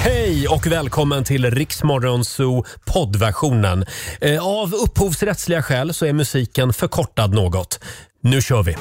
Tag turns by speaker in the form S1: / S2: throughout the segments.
S1: Hej och välkommen till Riksmorgonzoo poddversionen. Eh, Av upphovsrättsliga skäl så är musiken förkortad något. Nu kör vi!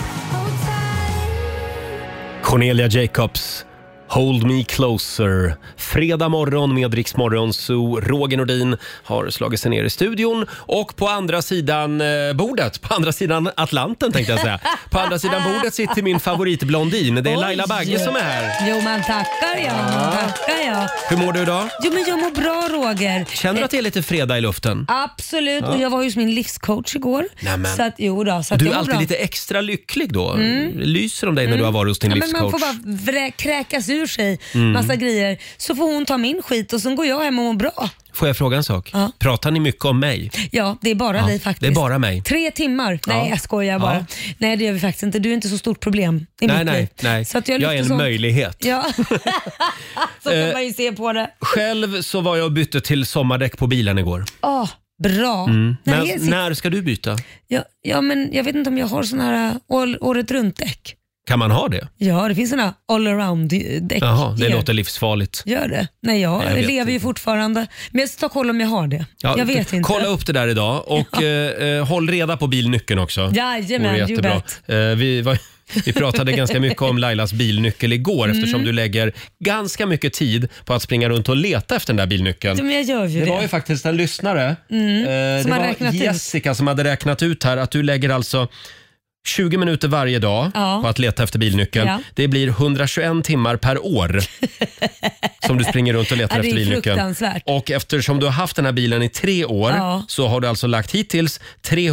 S1: Cornelia Jacobs, Hold Me Closer. Fredag morgon med Riksmorgonzoo. Roger Nordin har slagit sig ner i studion och på andra sidan eh, bordet, på andra sidan Atlanten tänkte jag säga. På andra sidan bordet sitter min favoritblondin. Det är Laila Bagge som är här.
S2: Jo, man tackar jag. Man tackar jag.
S1: Hur mår du idag?
S2: Jo, men jag mår bra Roger.
S1: Känner du att det är lite fredag i luften?
S2: Absolut, och jag var hos min livscoach igår.
S1: Nämen.
S2: Så att, jo då, så att
S1: Du
S2: jag
S1: är
S2: mår
S1: alltid
S2: bra. Mm.
S1: lite extra lycklig då. Lyser om dig när du har varit hos din
S2: Ja, men man
S1: livscoach. Mm.
S2: får bara vrä- kräkas ur sig massa grejer. Så får hon ta min skit och sen går jag hem och mår bra.
S1: Får jag fråga en sak?
S2: Ja.
S1: Pratar ni mycket om mig?
S2: Ja, det är bara dig faktiskt.
S1: det är bara mig.
S2: Tre timmar. Nej,
S1: Ja.
S2: jag skojar bara. Nej, det gör vi faktiskt inte. Du är inte så stort problem i
S1: Nej,
S2: mitt
S1: nej,
S2: liv.
S1: nej.
S2: Så att
S1: jag,
S2: jag,
S1: är
S2: lyfter
S1: en
S2: sånt.
S1: möjlighet.
S2: Ja, så
S1: Eh,
S2: kan man ju se på det.
S1: Själv så var jag och bytte till sommardäck på bilen igår.
S2: Ah, bra.
S1: mm.
S2: Nej, jag
S1: När,
S2: sitter-
S1: när ska du byta?
S2: Ja, ja, men jag vet inte om jag har såna här all, året runt-däck.
S1: Kan man ha det?
S2: Ja, det finns såna här allround-däck.
S1: Jaha, det
S2: Gör-
S1: låter livsfarligt.
S2: Gör det? Nej, jag,
S1: Nej, jag vet
S2: lever ju fortfarande. Men jag ska ta koll om jag har det.
S1: Ja,
S2: jag vet inte.
S1: Kolla upp det där idag och eh, eh, håll reda på bilnyckeln också.
S2: Jajamän,
S1: Vore
S2: you
S1: jättebra. Eh, vi, var, vi pratade ganska mycket om Lailas bilnyckel igår
S2: Mm.
S1: eftersom du lägger ganska mycket tid på att springa runt och leta efter den där bilnyckeln.
S2: Ja, Men jag gör ju
S1: Det
S2: det. Mm.
S1: var ju faktiskt en lyssnare, eh,
S2: Som har
S1: det var
S2: räknat ut.
S1: Jessica som hade räknat ut här att du lägger alltså 20 minuter varje dag
S2: Ja.
S1: på att leta efter bilnyckeln.
S2: Ja.
S1: Det blir 121 timmar per år som du springer runt och letar
S2: Ja, det är
S1: efter bilnyckeln.
S2: fruktansvärt.
S1: Och eftersom du har haft den här bilen i tre år
S2: Ja.
S1: så har du alltså lagt hittills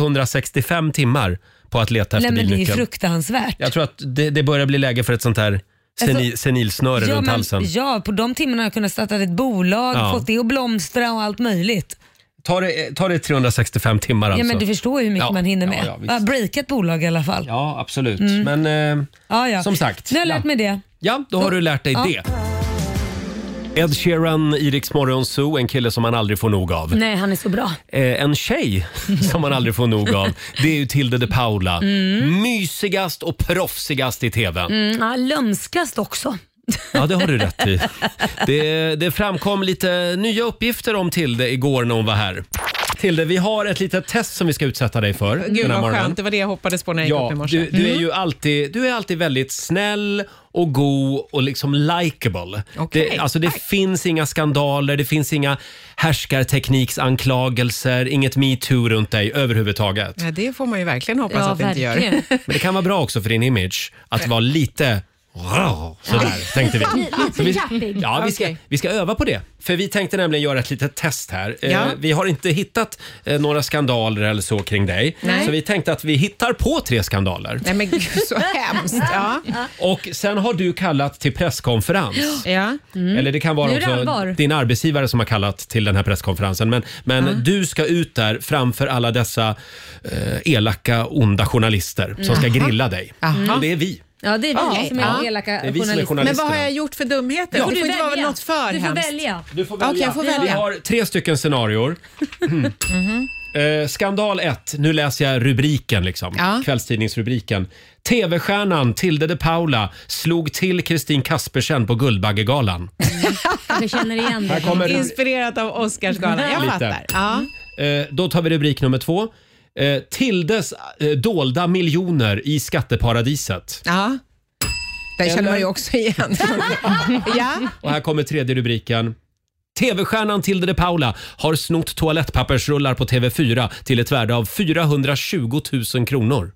S1: 365 timmar på att leta
S2: Nej,
S1: efter
S2: men det är ju
S1: bilnyckeln.
S2: fruktansvärt.
S1: Jag tror att det, det börjar bli läge för ett sånt här senil,
S2: Alltså,
S1: senilsnöre
S2: ja,
S1: runt
S2: men,
S1: halsen.
S2: ja, på de timmarna har jag kunnat starta ett bolag,
S1: Ja.
S2: fått det att blomstra och allt möjligt.
S1: Ta det, ta det 365 timmar alltså.
S2: Ja, men du förstår ju hur mycket
S1: Ja,
S2: man hinner
S1: ja,
S2: med.
S1: ja, visst.
S2: Ja, breaka ett bolag i alla fall. Ja.
S1: Ja, absolut. Men eh,
S2: Ja,
S1: som sagt.
S2: Nu har jag lärt mig det.
S1: Ja, då har du lärt dig
S2: Ja.
S1: det. Ed Sheeran i Rix Morgon Zoo, en kille som man aldrig får nog av.
S2: Nej, han är så bra.
S1: Eh, en tjej som man aldrig får nog av, det är ju Tilde de Paula.
S3: Mm.
S1: Mysigast och proffsigast i TV.
S2: Mm, ja, lömskast också.
S1: Ja, det har du rätt i. Det, det framkom lite nya uppgifter om Tilde igår när hon var här. Tilde, vi har ett litet test som vi ska utsätta dig för
S3: Gud
S1: den här
S3: vad
S1: morgonen.
S3: skönt, det var det jag hoppades på när jag gick upp i
S1: Ja,
S3: morse. Mm.
S1: du, du är ju alltid, du är alltid väldigt snäll och god och liksom likeable.
S3: Okej.
S1: Det, alltså det finns inga skandaler, det finns inga härskartekniksanklagelser, inget metoo runt dig överhuvudtaget.
S3: Mm. Ja, det får man ju verkligen hoppas
S2: Ja,
S3: att det inte gör.
S2: verkligen.
S1: Men det kan vara bra också för din image att vara lite Sådär, tänkte vi. Så vi, ja, vi, ska,
S3: Okej.
S1: vi ska öva på det. För vi tänkte nämligen göra ett litet test här. Eh,
S3: Ja.
S1: Vi har inte hittat eh, några skandaler eller så kring dig.
S3: Nej.
S1: Så vi tänkte att vi hittar på tre skandaler.
S3: Nej men gud så hemskt. Ja.
S1: Och sen har du kallat till presskonferens.
S3: Ja.
S1: Eller det kan vara
S2: Mm. Nu är det
S1: också
S2: allvar.
S1: din arbetsgivare som har kallat till den här presskonferensen. Men, men du ska ut där framför alla dessa eh, elaka, onda journalister som ska grilla dig.
S3: Jaha.
S1: Och det är vi.
S2: Ja, det är vi
S3: Ja,
S2: som är
S3: ja.
S2: elaka
S1: Det är vi som är
S2: journalister.
S1: journalister.
S3: Men vad har jag gjort för dumheter?
S2: Då
S3: Det får
S2: du
S3: inte vara
S2: välja.
S3: något för
S2: Du får
S3: hemskt.
S2: välja.
S1: Du får
S3: välja. Okej, jag får välja.
S1: Vi har tre stycken scenarior. Eh, skandal 1. Nu läser jag rubriken. Liksom.
S3: Ja.
S1: Kvällstidningsrubriken. TV-stjärnan Tilde de Paula slog till Kristin Kaspersen på Guldbaggegalan.
S2: Jag känner igen
S1: Här
S2: det.
S1: kommer ru-
S3: Inspirerat av Oscarsgalan. Jag
S1: Lite.
S3: fattar. Ja.
S1: Eh, då tar vi rubrik nummer två. Eh, Tildes eh, dolda miljoner i skatteparadiset.
S3: ja. Den
S1: Eller-
S3: känner man ju också igen. ja.
S1: Och här kommer tredje rubriken. TV-stjärnan Tilde de Paula har snott toalettpappersrullar på TV4 till ett värde av 420 000 kronor.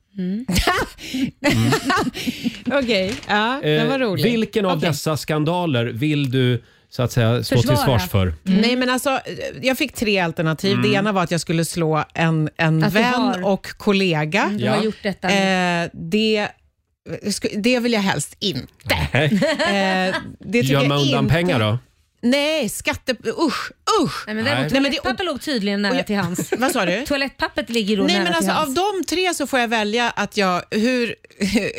S3: Okej, ja, den var
S1: Eh,
S3: rolig.
S1: vilken av
S3: Okej.
S1: dessa skandaler vill du så att säga stå
S2: Försvara. Mm.
S1: till svars för?
S3: Nej, men alltså, jag fick tre alternativ. Det ena var att jag skulle slå en, en
S2: Att du
S3: vän
S2: har- Mm,
S3: och kollega.
S2: Du
S1: Ja.
S2: har gjort detta.
S3: Eh, det, sku- det vill jag helst inte.
S1: Nej.
S3: Eh, det tycker
S1: Gömma
S3: jag
S1: undan
S3: inte.
S1: pengar då?
S3: Nej, skatte... Usch, usch!
S2: Nej,
S1: Nej.
S2: men däremot,
S3: Nej, men det-
S2: toalettpapper låg tydligen nära till hans.
S3: Vad sa du?
S2: Toalettpappret ligger då
S3: Nej,
S2: nära
S3: men
S2: till
S3: alltså,
S2: hans.
S3: av de tre så får jag välja att jag, hur,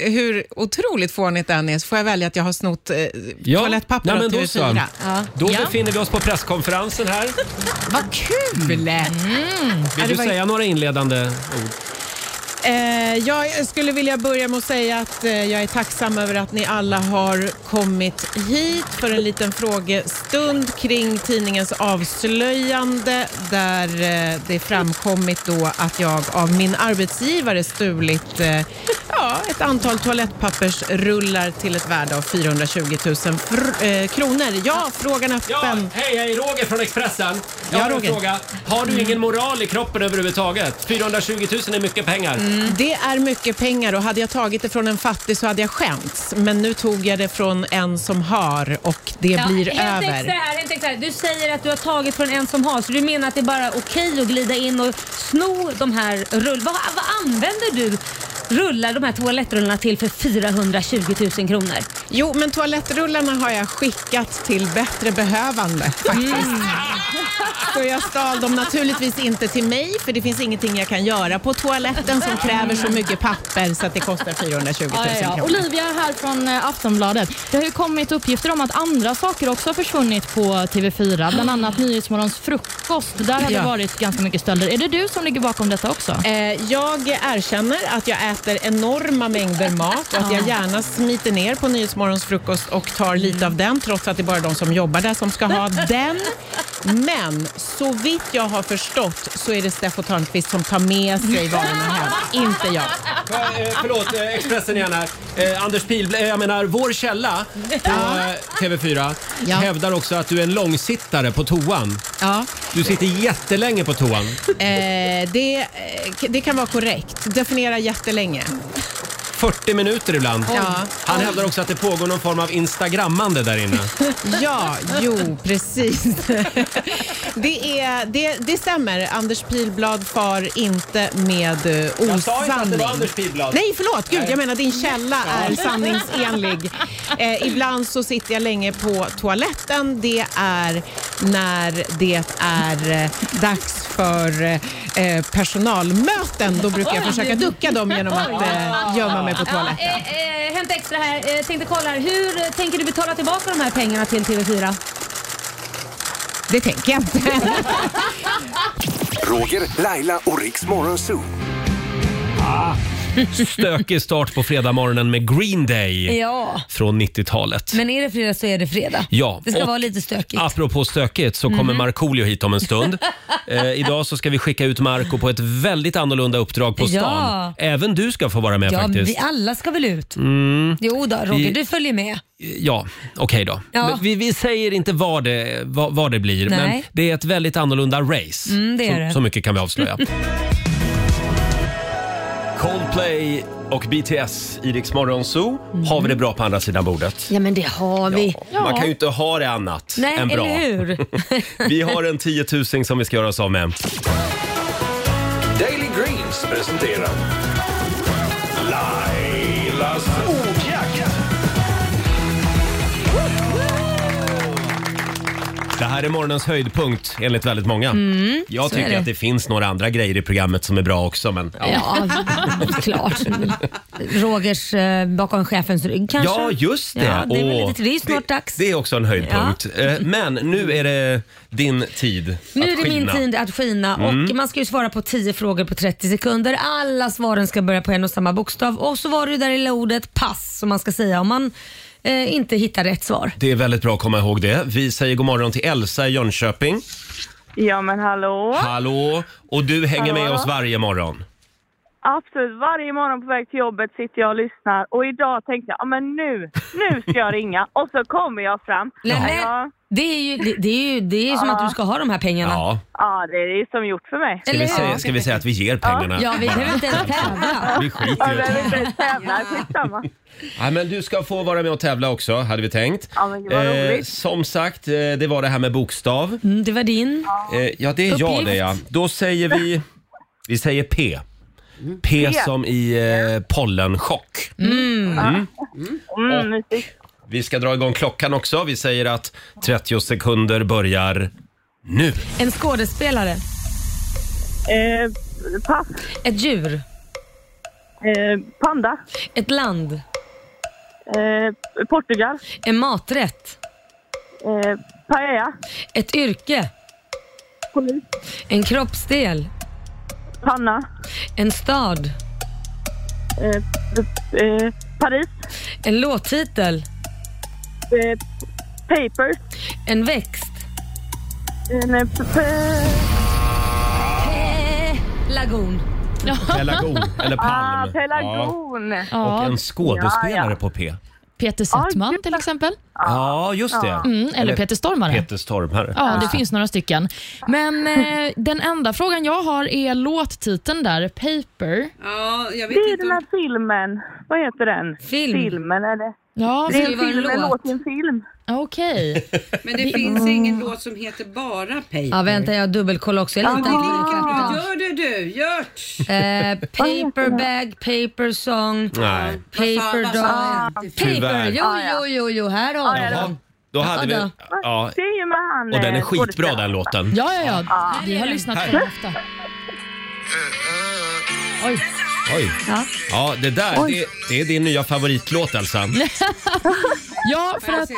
S3: hur otroligt fånigt det än är, så får jag välja att jag har snott eh, toalettpapper
S1: nej, men
S3: av
S1: då så.
S3: TV4.
S1: Då
S3: Ja.
S1: befinner vi oss på presskonferensen här.
S3: Vad kul!
S1: Mm.
S3: Mm.
S1: Vill
S3: det
S1: du
S3: var-
S1: säga några inledande ord?
S3: Eh, jag skulle vilja börja med att säga att eh, jag är tacksam över att ni alla har kommit hit för en liten frågestund kring tidningens avslöjande där eh, det framkommit då att jag av min arbetsgivare stulit eh, ja, ett antal toalettpappersrullar till ett värde av 420 000 fr- eh, kronor. Ja, frågan är
S1: Ja,
S3: öppen.
S1: hej, hej, Roger från Expressen. Jag
S3: Ja,
S1: har en
S3: Roger. Mm.
S1: fråga. Har du ingen moral i kroppen överhuvudtaget? 420 000 är mycket pengar.
S3: Det är mycket pengar och hade jag tagit det från en fattig så hade jag skämts. Men nu tog jag det från en som har och det blir
S2: helt enkelt så
S3: över.
S2: här, helt enkelt så här. Du säger att du har tagit från en som har, så du menar att det är bara okej att glida in och sno de här rull... Vad, vad använder du rullar, de här toalettrullarna till för 420 000 kronor?
S3: Jo, men toalettrullarna har jag skickat till bättre behövande
S2: Mm.
S3: faktiskt. Så jag stal dem naturligtvis inte till mig för det finns ingenting jag kan göra på toaletten som kräver så mycket papper så att det kostar 420 000
S4: Ja, ja, ja.
S3: kronor.
S4: Olivia här från eh, Aftonbladet. Det har ju kommit uppgifter om att andra saker också har försvunnit på TV4, bland annat Nyhetsmorgons frukost. Där har det
S3: Ja.
S4: varit ganska mycket stölder. Är det du som ligger bakom detta också?
S3: Eh, Jag erkänner att jag äter enorma mängder mat och att jag gärna smiter ner på Nyhetsmorgons frukost och tar lite av den trots att det är bara de som jobbar där som ska ha den. Men så vitt jag har förstått så är det Steffo Törnqvist som tar med sig varorna hem, inte jag.
S1: Eh, förlåt, eh, Expressen igen här. Eh, Anders Pihl, eh, jag menar vår källa på eh, TV4
S3: Ja.
S1: hävdar också att du är en långsittare på toan.
S3: Ja.
S1: Du sitter jättelänge på toan.
S3: Eh, det, eh, det kan vara korrekt. Definiera jättelänge.
S1: 40 minuter ibland.
S3: Ja.
S1: Han hävdar också att det pågår någon form av instagrammande där inne.
S3: Ja, jo, precis. Det, är, det, det stämmer. Anders Pilblad far inte med eh, osanning.
S1: Pilblad.
S3: Nej, förlåt. Gud, jag menar din källa är sanningsenlig. Eh, ibland så sitter jag länge på toaletten. Det är när det är eh, dags för eh, personalmöten. Då brukar jag försöka ducka dem genom att eh, gömma mig på
S2: Ja,
S3: toaletten.
S2: eh, eh, Hänt Extra här. Eh, tänkte kolla här. Hur eh, tänker du betala tillbaka de här pengarna till TV4?
S3: Det tänker jag inte.
S5: Roger, Laila och Riks Morgonzoo.
S1: Ah. Stökig start på fredagmorgonen med Green Day
S2: Ja.
S1: från 90-talet.
S2: Men är det fredag så är det fredag.
S1: Ja,
S2: Det ska
S1: och-
S2: vara Mhm. lite stökigt.
S1: Apropå stökigt så kommer Markoolio hit om en stund. Eh, idag så ska vi skicka ut Marco på ett väldigt annorlunda uppdrag på stan.
S2: Ja.
S1: Även du ska få vara med
S2: ja,
S1: faktiskt.
S2: vi alla ska väl ut? Jo då, Roger,
S1: Vi-
S2: du följer med.
S1: Ja, okej då.
S2: Ja.
S1: Men Vi, vi säger inte vad det, vad, vad det blir,
S2: Nej.
S1: men det är ett väldigt annorlunda race.
S2: Mm, det är
S1: så,
S2: det.
S1: så mycket kan vi avslöja. Coldplay och BTS i Rix Morgon Zoo. Har vi det bra på andra sidan bordet?
S2: Ja, men det har vi.
S1: Man kan ju inte ha det annat
S2: Nej,
S1: än bra.
S2: eller hur?
S1: Vi har en tiotusing som vi ska göra oss av med.
S6: Daily Greens presenterar Lailas ordjakt.
S1: Det här är morgonens höjdpunkt enligt väldigt många. Jag tycker
S2: Mm, det.
S1: att det finns några andra grejer i programmet som är bra också. Men, ja.
S2: Ja, klart. Rogers eh, bakom chefens rygg kanske?
S1: Ja, just det.
S2: Ja, det, är väl
S1: Åh,
S2: lite, det är ju snart
S1: det,
S2: dags.
S1: Det är också en höjdpunkt. Eh, Men nu är det din tid
S2: nu
S1: att
S2: är det min
S1: skina. Mm.
S2: tid att skina och man ska ju svara på 10 frågor på 30 sekunder. Alla svaren ska börja på en och samma bokstav och så var det ju där lilla ordet pass som man ska säga om man eh, inte hittar rätt svar.
S1: Det är väldigt bra att komma ihåg det. Vi säger god morgon till Elsa i Jönköping.
S7: Ja men hallå!
S1: Hallå! Och du hänger med oss varje morgon.
S7: Absolut, varje morgon på väg till jobbet sitter jag och lyssnar och idag tänkte jag, ja men nu, nu ska jag ringa och så kommer jag fram.
S2: Nej, men,
S7: Ja,
S2: Det är ju, det, det är ju, det är ju som att du ska ha de här pengarna.
S1: Ja,
S7: ja det är som gjort för mig.
S1: ska
S2: Eller
S1: vi,
S2: hur?
S1: säga, ska vi säga att vi ger pengarna?
S2: Ja, vi behöver inte ens tävla.
S1: Vi
S7: Ja,
S1: skiter
S7: Jag
S1: i det.
S7: behöver inte ens tävla, skitsamma.
S1: Ja, men du ska få vara med och tävla också, hade vi tänkt.
S7: Ja, men gud, vad roligt.
S1: som sagt, eh, det var det här med bokstav.
S2: Mm, det var din.
S1: Eh, ja, det är jag det ja. Då säger vi... Vi säger P. P som i eh, pollenchock. Mm.
S7: Mm, mysigt.
S1: Vi ska dra igång klockan också. Vi säger att 30 sekunder börjar nu.
S2: En skådespelare.
S7: Eh, pass.
S2: Ett djur.
S7: Eh, panda.
S2: Ett land.
S7: Eh, Portugal.
S2: En maträtt.
S7: Eh, paella.
S2: Ett yrke.
S7: Polis.
S2: En kroppsdel.
S7: Panna.
S2: En stad.
S7: eh, eh, Paris,
S2: En låttitel.
S7: eh, Papers,
S2: En växt.
S7: eh, nej, p- p-
S2: Eh, lagun.
S1: Pelagon, eller
S7: ah,
S1: Palm.
S7: Pelagon.
S1: Ja. Och
S4: Ja,
S1: en skådespelare
S7: Ja, ja.
S1: på P.
S4: Peter
S7: Ah,
S4: Settman
S7: gud.
S4: till exempel.
S1: Ja, just det.
S4: Mm, eller Peter Stormare.
S1: Peter Stormare.
S4: Ja, det finns några stycken. Men eh, den enda frågan jag har är låttiteln där, Paper.
S8: Ja, jag
S7: Det
S8: vet
S7: är
S8: inte
S7: den
S8: om...
S7: här filmen. Vad heter den?
S2: Film.
S7: Filmen är det.
S4: Ja,
S7: Det är
S2: ska ju
S7: en
S2: vara en
S7: film, en
S2: låt.
S7: låt i en film.
S4: okej.
S8: Men
S1: Mm.
S8: det finns ingen låt som heter bara Paper.
S2: Ja, vänta, jag dubbelkollar också. Jag
S8: Ja, det
S2: litar
S8: är lika
S2: inte riktigt på
S8: bra.
S2: dem.
S8: Gör det du, Gert!
S2: Eh, paper bag, paper song,
S1: Nej.
S8: Vad Ah,
S2: paper
S8: fan, vad
S2: doll.
S8: fan.
S2: Paper,
S1: Tyvärr.
S2: jo, jo, jo, jo, här har vi den.
S1: Jaha, då hade vi... Ja,
S7: Det är ju med han...
S1: och den är
S7: eh,
S1: skitbra
S7: skådespelaren.
S1: den låten.
S4: Ja, ja, ja. Vi har lyssnat på den ofta. Oj.
S1: Oj.
S2: Ja.
S1: Ja, det där det, det är din nya favoritlåt Elsa.
S4: Ja, för att eh,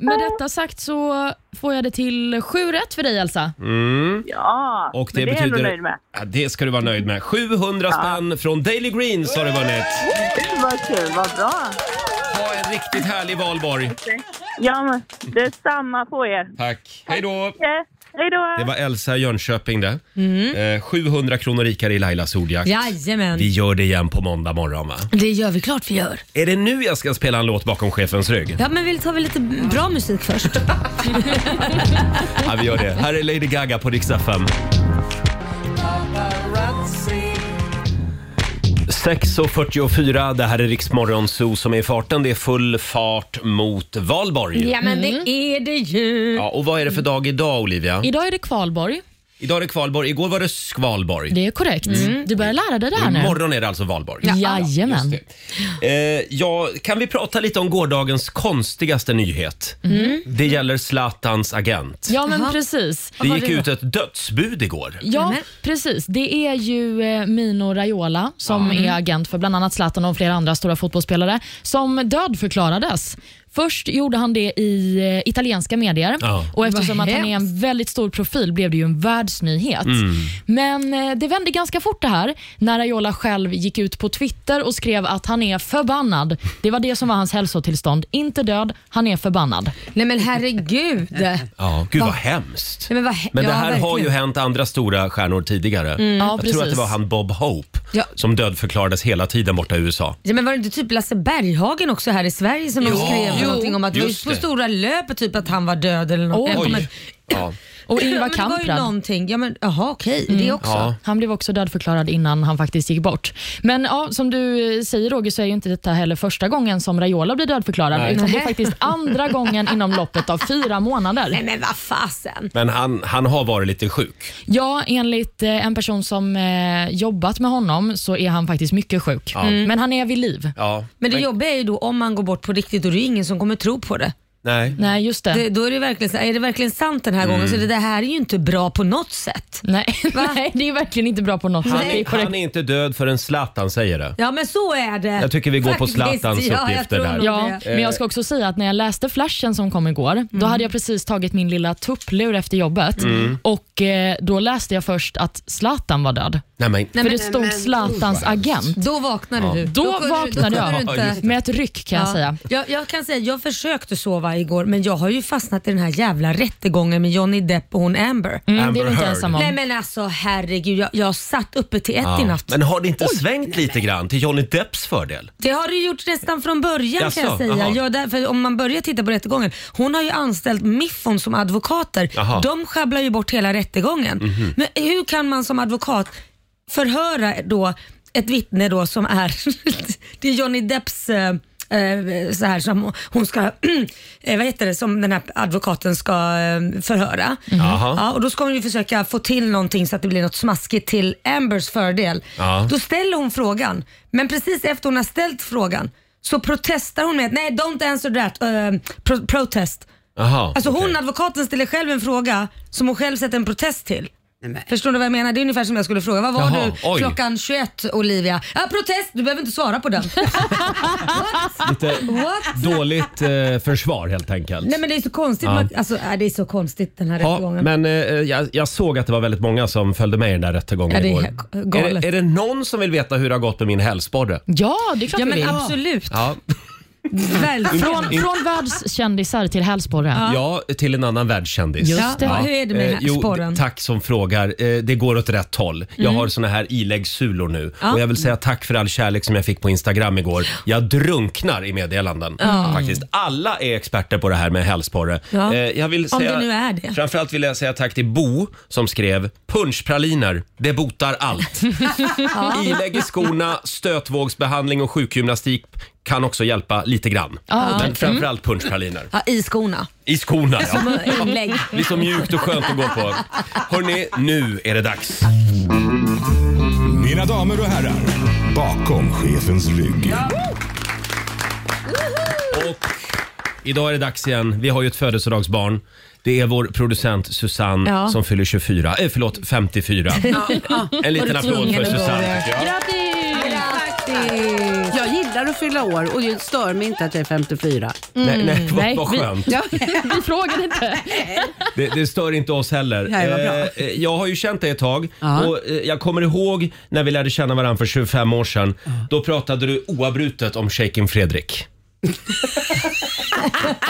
S4: med detta sagt så får jag det till sju rätt för dig Elsa.
S7: Ja,
S1: Mm. Och det,
S7: men är jag ändå
S1: betyder...
S7: nöjd med.
S1: Ja, det ska du vara nöjd med. 700 spänn från Daily Greens har du vunnit.
S7: Gud vad kul, vad bra.
S1: Ha en riktigt härlig valborg.
S7: Ja, men det är samma på er.
S1: Tack. Hej då.
S7: Eh, Hej då!
S1: Det var Elsa i Jönköping det.
S4: Mm.
S1: Eh, 700 kronor rikare i Lailas ordjakt.
S2: Jajamän.
S1: Vi gör det igen på måndag morgon va?
S2: Det gör vi klart vi gör.
S1: Är det nu jag ska spela en låt bakom chefens rygg?
S2: Ja, men vi tar väl lite bra musik först.
S1: Ja, vi gör det. Här är Lady Gaga på Rix FM. 6.44, det här är Riksmorgon Zoo som är i farten. Det är full fart mot Valborg.
S2: ja, men
S4: Mm.
S2: det är det ju.
S1: Ja, och vad är det för dag idag Olivia?
S4: Idag är det kvalborg.
S1: Idag är det kvalborg, igår var det skvalborg.
S4: Det är korrekt.
S1: Mm.
S4: Du börjar lära dig det här nu.
S1: Imorgon är det alltså valborg.
S4: Jajamän.
S1: Eh, ja, kan vi prata lite om gårdagens konstigaste nyhet? Det Mm. gäller Zlatans agent.
S4: Mm. Ja, men precis.
S1: Det gick ut ett dödsbud igår.
S4: Ja,
S2: Nämen.
S4: precis. Det är ju eh, Mino Raiola som är agent för bland annat Zlatan och flera andra stora fotbollsspelare som dödförklarades. Först gjorde han det i eh, italienska medier
S1: Ja.
S4: och eftersom
S2: Vad
S4: att han är en väldigt stor profil blev det ju en världsnyhet.
S6: Mm.
S2: Mm.
S4: Men eh, det vände ganska fort det här när Raiola själv gick ut på Twitter och skrev att han är förbannad. Det var det som var hans hälsotillstånd. Inte död, han är förbannad.
S2: Nej, men herregud. Nej,
S1: Ja, gud vad hemskt.
S2: men vad,
S1: Men det
S2: ja,
S1: här har ju
S2: verkligen.
S1: hänt andra stora stjärnor tidigare.
S4: Mm. Ja,
S1: Jag
S4: precis.
S1: tror att det var han Bob Hope
S2: Ja.
S1: som dödförklarades hela tiden borta i USA.
S2: Ja, men var det inte typ Lasse Berghagen också här i Sverige som de skrev någonting om att det var ju
S1: just
S2: på
S1: det.
S2: stora löpet typ att han var död eller något.
S4: Oj.
S2: Eller kommer-
S1: Ja.
S4: Och Ingvar
S2: men det var ju
S4: Kamprad. Mm.
S2: någonting. Ja, men jaha okej, det också.
S1: Ja.
S4: Han blev också dödförklarad innan han faktiskt gick bort. Men ja, som du eh, säger Roger så är ju inte detta heller första gången som Raiola blir dödförklarad
S1: Nej.
S4: utan det är
S2: Nej.
S4: faktiskt andra gången inom loppet av fyra månader.
S2: Nej men vad fasen.
S1: Men han, han har varit lite sjuk.
S4: Ja, enligt eh, en person som eh, jobbat med honom så är han faktiskt mycket sjuk.
S1: Mm.
S4: Men han är vid liv.
S1: Ja.
S2: Men det jobbiga är ju då om man går bort på riktigt då är det ju ingen som kommer tro på det.
S1: Nej.
S2: Alltså-
S4: Nej, just det.
S2: det då är det verkligen så, är det verkligen sant den här gången?
S1: Mm.
S2: Så det, det här är ju inte bra på något sätt.
S4: Nej, nej, det är verkligen inte bra på något sätt.
S1: Han,
S4: Det är
S1: är, han
S4: korrekt.
S1: är inte död förrän Zlatan säger det.
S2: Ja men så är det.
S1: Jag tycker vi går på
S2: Faktiskt,
S1: Zlatans
S2: ja, jag
S1: uppgifter
S2: tror
S1: där.
S2: nog
S4: Ja,
S2: det. Mm.
S4: men jag ska också säga att när jag läste flashen som kom igår, då hade jag precis tagit min lilla tupplur efter jobbet
S1: Mm.
S4: och eh, då läste jag först att Zlatan var död.
S1: Nej, men,
S2: Nej,
S4: För
S2: men-
S4: det stod Zlatans agent.
S2: Då vaknade du.
S4: Då
S2: kunde du-
S4: vaknade
S2: kunde
S4: jag.
S2: du inte-
S1: Ja, just
S4: Med ett ryck kan jag
S2: Ja.
S4: säga.
S2: Jag, jag kan säga jag försökte sova igår men jag har ju fastnat i den här jävla rättegången med Johnny Depp och hon Amber.
S4: Mm, det är
S1: Amber
S4: du inte
S1: Heard.
S4: ensam om.
S2: Nej men alltså herregud, jag, jag satt uppe till ett i
S1: ja.
S2: natt.
S1: men har det inte svängt lite grann till Johnny Depps fördel?
S2: Det har du gjort nästan från början
S1: Jaså,
S2: kan jag säga.
S1: aha.
S2: Ja, därför, om man börjar titta på rättegången. Hon har ju anställt Miffon som advokater.
S1: Aha.
S2: De sjabblar ju bort hela rättegången.
S1: Mhm.
S2: Men hur kan man som advokat förhöra då ett vittne då som är, det är Johnny Depps eh, eh, så här som hon ska, eh, vad heter det, som den här advokaten ska eh, förhöra.
S1: Jaha.
S2: Ja, och då ska hon ju försöka få till någonting så att det blir något smaskigt till Ambers fördel.
S1: Ja.
S2: Då ställer hon frågan, men precis efter hon har ställt frågan så protestar hon med att nej, don't answer that, eh, pro- protest.
S1: Jaha,
S2: Alltså
S1: okej.
S2: hon, advokaten, ställer själv en fråga som hon själv sätter en protest till.
S8: Nej,
S2: Förstår du vad jag menar? Det är ungefär som jag skulle fråga. Vad var
S1: Jaha,
S2: du
S1: oj.
S2: klockan 21 Olivia? Ja, protest! Du behöver inte svara på den. What?
S1: Lite
S2: What?
S1: dåligt eh, försvar helt enkelt.
S2: Nej men det är så konstigt.
S1: Ja.
S2: Man, alltså, äh, det är så konstigt den här
S1: Ja,
S2: rättegången.
S1: men eh, jag, jag såg att det var väldigt många som följde med i den där rättegången
S2: Ja, det är
S1: igår.
S2: he- galet.
S1: Är, det- är det någon som vill veta hur det har gått med min hälsporre?
S4: Ja, det är klart
S2: Ja
S4: vi
S2: men
S4: vill.
S2: absolut.
S1: Ja.
S2: Väl.
S4: Från, från världskändisar till hälsporre.
S1: ja, till en annan världskändis.
S4: Just
S2: Ja,
S4: det.
S2: Hur är det med
S1: Eh,
S2: här
S1: jo,
S2: sporren? Mm.
S1: d- tack som frågar. Eh, det går åt rätt håll. Jag har såna här iläggssulor nu. Och jag vill säga tack för all kärlek som jag fick på Instagram igår. Jag drunknar i meddelanden. Faktiskt. Alla är experter på det här med hälsporre.
S2: Ja.
S1: Eh, jag vill
S2: Om
S1: säga,
S2: det nu är det.
S1: Framförallt vill jag säga tack till Bo som skrev punschpraliner, det botar allt. Ilägg i skorna, stötvågsbehandling och sjukgymnastik kan också hjälpa lite grann.
S4: Ja,
S1: Men framförallt punschpraliner.
S2: Mm. Ja, I skorna.
S1: I skorna ja.
S2: Inlägg.
S1: Det är så mjukt och skönt att gå på. Hörni, nu är det dags.
S6: Mina damer och herrar, bakom chefens rygg.
S1: Och idag är det dags igen. Vi har ju ett födelsedagsbarn. Det är vår producent Susanne
S2: Ja.
S1: som fyller 24, eh, förlåt 54. En liten applåd för
S2: tvungen att
S1: Susanne. tycker jag.
S4: Grattis!
S2: Grattis!
S8: Jag gillar att fylla år och det stör mig inte att jag är 54.
S1: Nej,
S2: Mm.
S1: nej, vad,
S4: Nej,
S1: vad
S4: vi-
S1: skönt.
S4: Vi frågade inte.
S1: Det, det stör inte oss heller.
S8: Nej, vad bra.
S1: Eh, eh, jag har ju känt dig ett tag
S8: Ja.
S1: och eh, jag kommer ihåg när vi lärde känna varandra för 25 år sedan. Då pratade du oavbrutet om Shaken Fredrik. nej,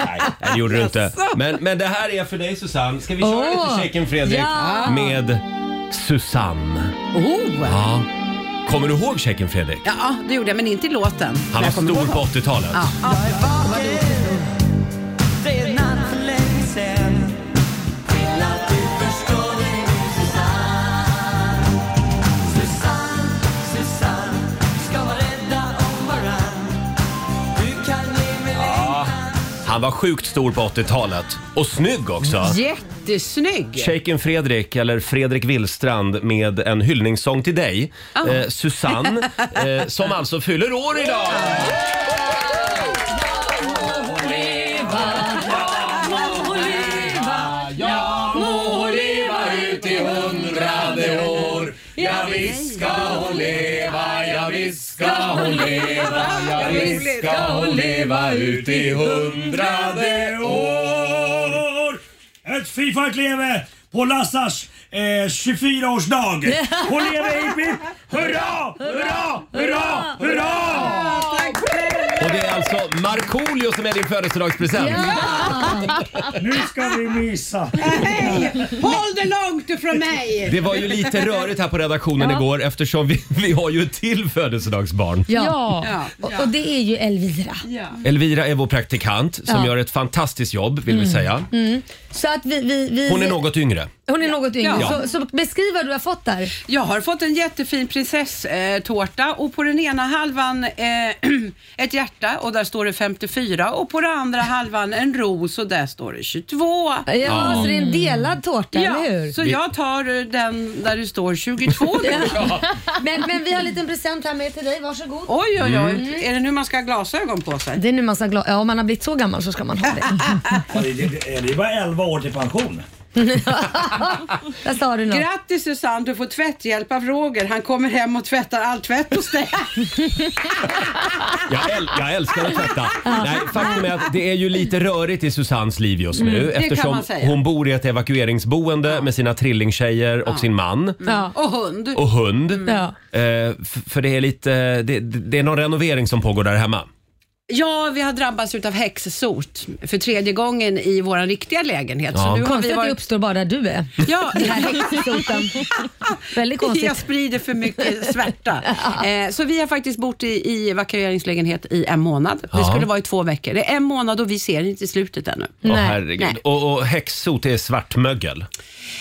S1: nej, det gjorde du inte. Men, men det här är för dig Susanne. Ska vi köra
S2: Åh.
S1: lite Shaken Fredrik
S2: Ja.
S1: med Susanne?
S8: Oh.
S1: Ja. Kommer du ihåg Shaken Fredrik?
S8: Ja, det gjorde jag, men inte i låten.
S1: Han var
S8: Jag kommer
S1: stor
S8: ihåg.
S1: på 80-talet. Han var sjukt stor på 80-talet. Och snygg också.
S8: Jättesnygg!
S1: Shaken Fredrik, eller Fredrik Willstrand med en hyllningssång till dig, eh, Susanne, eh, som alltså fyller år idag! Jag må leva ut i hundrade år Ja visst ska hon leva, ja visst ska hon leva Ja visst ska hon leva ut i hundrade år
S9: Ett fyrfart leve på Lassars eh, 24-årsdag. Hon lever hipp hipp! Hurra, hurra, hurra, hurra!
S1: Och det är alltså Markoolio som är din födelsedagspresent.
S9: Nu ska vi mysa.
S8: Hej! Håll dig långt ifrån mig!
S1: Det var ju lite rörigt här på redaktionen igår eftersom vi, vi har ju ett till födelsedagsbarn.
S2: Ja.
S8: Ja,
S2: Och, och det är ju Elvira.
S1: Elvira är vår praktikant som
S2: Ja.
S1: gör ett fantastiskt jobb vill vi säga.
S2: Mm. Så att vi, vi, vi,
S1: Hon är något yngre.
S2: hon är något yngre.
S1: Ja.
S2: Så, så beskriv vad du har fått där.
S8: Jag har fått en jättefin prinsesstårta och på den ena halvan eh, ett hjärta och där står det 54 och på den andra halvan en ros och där står det 22.
S2: Ja, Så det är en delad tårta, eller hur?
S8: så jag tar eh, den där det står 22 nu.
S2: Mm. Men, men vi har en liten present här med till dig. Varsågod.
S8: Oj, oj, oj.
S1: Mm.
S8: Är det nu man ska ha glasögon på sig?
S2: Det är nu man ska gla- ja, om man har blivit så gammal så ska man ha det.
S9: Ja, det- Det det är bara 11 år till pension.
S2: Där sa du något.
S8: Grattis Susanne, du får tvätthjälp av Roger. Han kommer hem och tvättar all tvätt hos dig.
S1: Jag, äl- jag älskar att tvätta. Nej, faktum är att det är ju lite rörigt i Susannes liv just nu
S8: Mm, kan
S1: eftersom
S8: man säga.
S1: hon bor i ett evakueringsboende med sina trillingtjejer och sin
S8: Mm.
S1: man.
S2: Ja.
S8: Och hund.
S1: Och hund.
S8: Mm.
S2: Ja.
S1: Eh, f- för det är lite, det, det är någon renovering som pågår där hemma.
S8: Ja, vi har drabbats utav häxsot för tredje gången i vår riktiga lägenhet.
S1: Ja.
S8: Så nu har
S2: Konstigt
S8: vi
S2: att det
S8: varit...
S2: uppstår bara där du är.
S8: Ja,
S2: Den här häxsoten. Väldigt konstigt.
S8: Jag sprider för mycket svärta. Eh, så vi har faktiskt bott i, i evakueringslägenhet i en månad. Det
S1: Ja.
S8: skulle vara i två veckor. Det är en månad och vi ser inte slutet ännu.
S1: Åh,
S2: Nej.
S1: herregud.
S8: Nej.
S1: Och, och häxsot är svartmögel.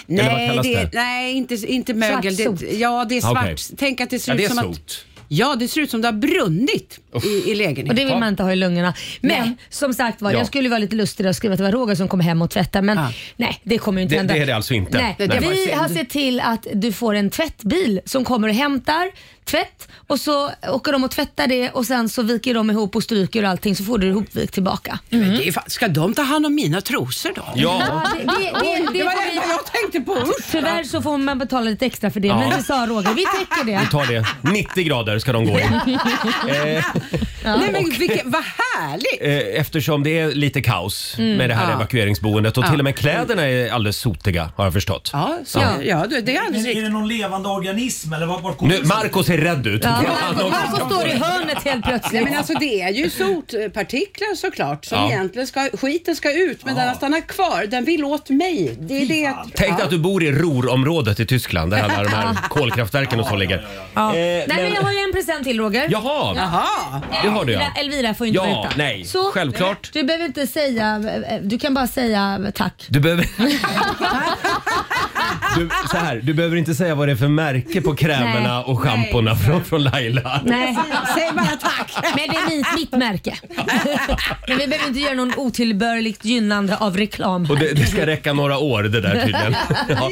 S1: Eller vad kallas det?
S8: nej inte, inte mögel.
S2: Svartsot.
S8: Det, ja, det är svart.
S1: Okej.
S8: Tänk att det ser
S1: Ja,
S8: ut
S1: det är
S8: som
S1: sot.
S8: att... Ja, det ser ut som det har brunnit i, i lägenheten.
S2: Och det vill man inte ha i lungorna. Men
S8: Nej.
S2: som sagt var,
S1: Ja.
S2: jag skulle vara lite lustig och skriva att det var Roger som kom hem och tvättade. Men
S8: Ja.
S2: nej, det kommer ju inte
S1: Det-
S2: hända.
S1: det är det alltså inte.
S2: Nej.
S1: Det-
S8: Ah. det var
S2: Vi
S8: synd.
S2: har sett till att du får en tvättbil som kommer och hämtar tvätt och så åker de och tvättar det och sen så viker de ihop och stryker och allting så får du ihopvikt tillbaka.
S8: Men det är fan- Ska de ta hand om mina trosor då?
S1: Ja,
S2: Mm. Det, det, det,
S8: Det
S2: det,
S8: var det enda jag tänkte på. Usch.
S2: tyvärr så får man betala lite extra för det,
S1: Ja.
S2: men det sa Roger. Vi täcker det.
S1: vi tar det. 90 grader ska de gå i.
S8: Nej, men vilket, vad härligt!
S1: Eh, Eftersom det är lite kaos
S2: Mm,
S1: med det här
S8: Ja.
S1: evakueringsboendet och till och med kläderna är alldeles sotiga har jag förstått.
S8: Ja, så,
S2: Ja.
S8: ja. du, det är alldeles
S9: Men är
S8: riktigt.
S9: det någon levande organism eller vad? vart kommer
S1: Nu,
S9: det-
S1: Marco ser rädd ut.
S2: Ja,
S1: Han
S2: Marco,
S1: också.
S2: Marco står i hörnet helt
S8: Nej,
S2: plötsligt.
S8: men alltså, det är ju sotpartiklar såklart som
S1: Ja.
S8: egentligen ska, skiten ska ut men den har stannat kvar. Den vill åt mig. Det är det.
S1: Tänk dig att du bor i Ruhrområdet i Tyskland där alla de här kolkraftverken och så ligger.
S2: Ja.
S1: Eh,
S2: Nej men
S1: men-
S2: jag har ju en present till Roger.
S1: Jaha,
S8: Jaha.
S1: det har du ja.
S2: Elvira, Elvira får inte
S1: Ja,
S2: veta.
S1: nej, självklart.
S2: Du behöver inte säga, eh, du kan bara säga eh, tack.
S1: Du behöver... Du, så här, du behöver inte säga vad det är för märke på krämerna
S2: Nej.
S1: och schamporna från, från Laila.
S2: Nej.
S8: Säg bara tack.
S2: Men det är mitt, mitt märke. Men vi behöver inte göra någon otillbörligt gynnande av reklam.
S1: Och det, det ska räcka några år det där tydligen. Ja.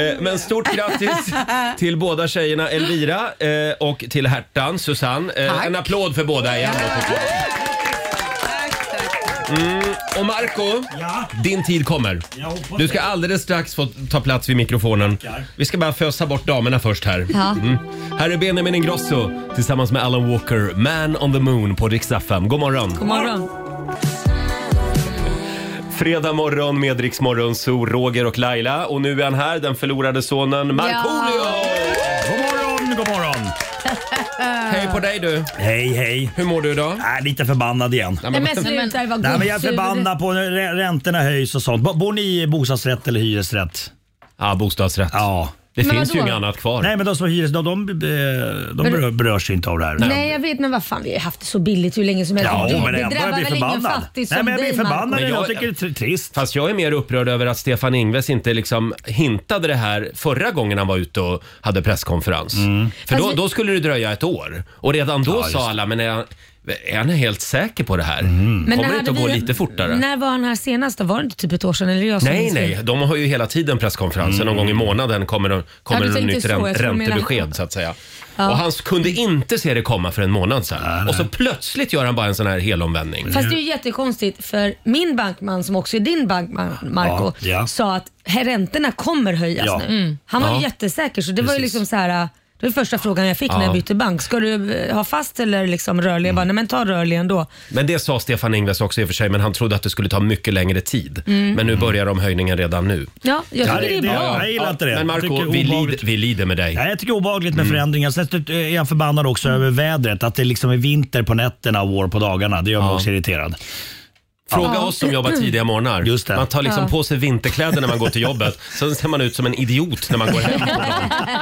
S1: Eh, Men stort grattis
S2: Eh.
S1: till båda tjejerna Elvira eh, och till hertan Susanne. Eh,
S8: Tack.
S1: En applåd för båda igen.
S8: Tack, tack.
S1: Mm, Och Marco,
S9: Ja,
S1: din tid kommer.
S9: jag hoppas
S1: Du ska alldeles strax få ta plats vid mikrofonen.
S9: Tackar.
S1: Vi ska bara fösa bort damerna först här.
S2: Ja.
S1: Mm. Här är Benjamin Ingrosso tillsammans med Alan Walker, Man on the Moon på Rix FM. God morgon!
S2: God morgon.
S1: Fredag morgon med Rix Morgon, så Roger och Laila. Och nu är han här, den förlorade sonen Markoolio!
S9: God morgon, god morgon.
S1: Hej på dig du!
S9: Hej, hej.
S1: Hur mår du idag?
S9: Äh, lite förbannad igen.
S2: Nej men sluta, vad
S9: Nej, men jag är
S2: gullig.
S9: förbannad på när rä- räntorna höjs och sånt. Bo- Bor ni i bostadsrätt eller hyresrätt?
S1: Ja, bostadsrätt.
S9: Ja.
S1: Det
S2: Men
S1: finns ju
S2: vadå?
S1: inget annat kvar.
S9: Nej men de som har hyres, de, de, eh, de berör- berörs inte av det här.
S2: Nej jag vet men vad fan vi har haft det så billigt hur länge som helst.
S9: Ja,
S2: det,
S9: men
S2: det
S9: ändå
S2: drabbar
S9: jag blir
S2: väl ingen
S9: förbannad.
S2: fattig som
S9: Nej, men jag
S2: dig
S9: blir förbannad.
S1: Men
S9: Jag,
S1: jag-
S9: jag tycker det är trist.
S1: Fast jag är mer upprörd över att Stefan Ingves inte liksom hintade det här förra gången han var ute och hade presskonferens.
S9: Mm.
S1: För då,
S2: Fast vi-
S1: då skulle det dröja ett år. Och redan då sa alla, men är han, är han helt säker på det här?
S9: Mm.
S2: Men
S1: Kommer
S2: när
S1: det inte att gå
S2: hade vi-
S1: lite fortare?
S2: När var han här senast då? Var det inte typ ett år sedan? Eller jag som
S1: Nej,
S2: minns fel?
S1: nej. De har ju hela tiden presskonferenser. Någon gång i
S9: Mm.
S1: månaden kommer, de, kommer
S2: Ja, du
S1: det
S2: tänkte
S1: nytt
S2: så.
S1: rän-
S2: Jag tror du menar-
S1: räntebesked så att säga. Och han kunde inte se det komma för en månad sedan. Och så plötsligt gör han bara en sån här helomvändning.
S2: Fast det är ju jättekonstigt för min bankman som också är din bankman Marco
S9: Ja, ja.
S2: sa att här räntorna kommer höjas
S9: Ja.
S2: nu. Han var
S1: Ja.
S2: ju jättesäker så det var ju
S1: Precis.
S2: liksom så här. äh, Det var första frågan jag fick när jag bytte bank. Ska du eh, ha fast eller liksom rörlig? Jag bara,
S9: Mm.
S2: nej men ta rörlig ändå.
S1: Men det sa Stefan Ingves också i och för sig, men han trodde att det skulle ta mycket längre tid. Men nu börjar de höjningen redan nu.
S2: Ja, Mm. jag
S9: Ja,
S2: tycker det,
S9: det-
S2: är
S9: det-
S2: bra.
S9: jag gillar inte det.
S1: Men
S9: Jag
S1: Marco,
S9: tycker
S1: vi, lid,
S9: obehagligt.
S1: vi lider med dig.
S9: Nej, jag tycker det är obehagligt
S1: Mm.
S9: med förändringar. Sen så är jag förbannad också
S2: Mm.
S9: över vädret. Att det liksom är vinter på nätterna och vår på dagarna. Det gör mig också irriterad.
S1: Fråga oss som jobbar tidiga morgnar.
S9: Just det.
S1: Man tar liksom
S2: Ja.
S1: på sig vinterkläder när man går till jobbet. Sen ser man ut som en idiot när man går hem på dagen.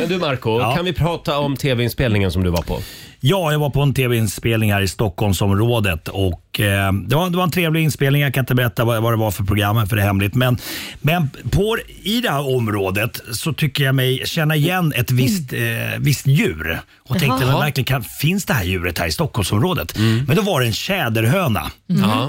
S1: Men du Marco,
S9: Ja.
S1: kan vi prata om tv-inspelningen som du var på?
S9: Ja, jag var på en tv-inspelning här i Stockholmsområdet och eh, det, var, det var en trevlig inspelning. Jag kan inte berätta vad, vad det var för program, för det är hemligt. Men, men på, i det här området så tycker jag mig känna igen ett visst, eh, visst djur. Och tänkte, men verkligen, kan, finns det här djuret här i Stockholmsområdet?
S2: Mm.
S9: Men då var det en tjäderhöna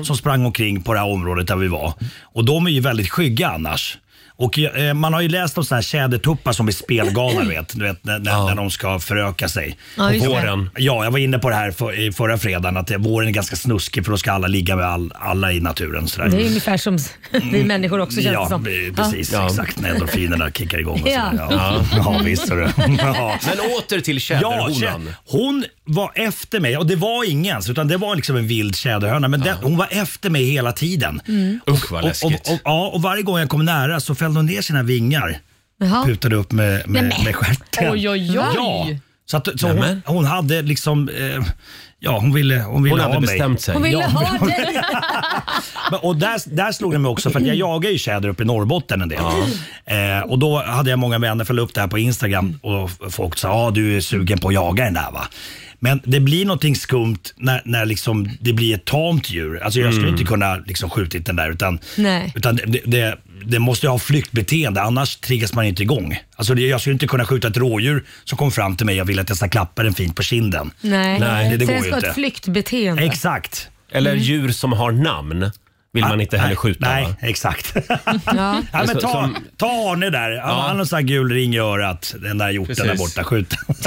S9: som sprang omkring på det här området där vi var. Och de är ju väldigt skygga annars. Och eh, Man har ju läst om såna här tjädertuppar som är spelgalna, vet, du vet, när, när, när de ska föröka sig.
S2: Ja, just det.
S1: Våren.
S9: Ja, jag var inne på det här för, i förra fredagen att det- våren är ganska snuskig för då ska alla ligga med all, alla i naturen. Sådär.
S2: Det är ungefär som s- vi människor också känns det
S9: Mm. Ja,
S2: som.
S9: eh, precis.
S1: Ja.
S9: Exakt, när endorfinerna kickar igång. Och
S2: Ja.
S9: sådär. Ja. Ja. ja, visst. hörru. Ja.
S1: Men åter till
S9: Ja,
S1: tjäderhonan.
S9: tjä- hon var efter mig och det var ingens utan det var liksom en vild tjäderhöna. Men den, hon var efter mig hela tiden.
S1: Mm. Usch vad
S9: Och, och,
S1: läskigt.
S9: och, ja, och varje gång jag kom nära så fällde hon ner sina vingar.
S2: Jaha.
S9: Putade upp med, med, med stjärten.
S4: Oj, oj, oj.
S9: Ja. Så, att, så hon,
S1: Nämen.
S9: hon hade liksom, eh, ja hon ville, hon ville
S1: Hon
S9: ha
S1: hade
S9: mig.
S1: bestämt sig.
S2: Hon ville
S9: Ja.
S2: ha dig.
S9: Men- Och där, där slog det mig också, för att jag jagar ju tjäder uppe i Norrbotten en del. Eh, och då hade jag många vänner följde upp det här på Instagram och f- folk sa ja ah, du är sugen på att jaga den där va. Men det blir någonting skumt när, när liksom det blir ett tamt djur. Alltså jag skulle inte kunna liksom skjutit den där utan,
S2: Nej.
S9: utan det, det, den måste ju ha flyktbeteende, annars triggas man inte igång. Alltså, det- jag skulle inte kunna skjuta ett rådjur som kom fram till mig och ville att jag ska klappa den fint på kinden.
S2: Nej,
S9: Nej, det- det
S2: Sen
S9: går ju
S2: ska
S9: inte.
S2: ett flyktbeteende. Mm.
S9: Exakt.
S1: Eller djur som har namn vill man inte heller
S9: Mm. Ah,
S1: skjuta.
S9: Nej, Nej,
S1: va?
S9: exakt.
S2: ja.
S9: Ja, men
S1: Så-
S9: ta,
S1: som-
S9: ta Arne där. Han- Han har en sån här gul ring i örat. Den där hjorten där
S1: Precis.
S9: borta. Skjut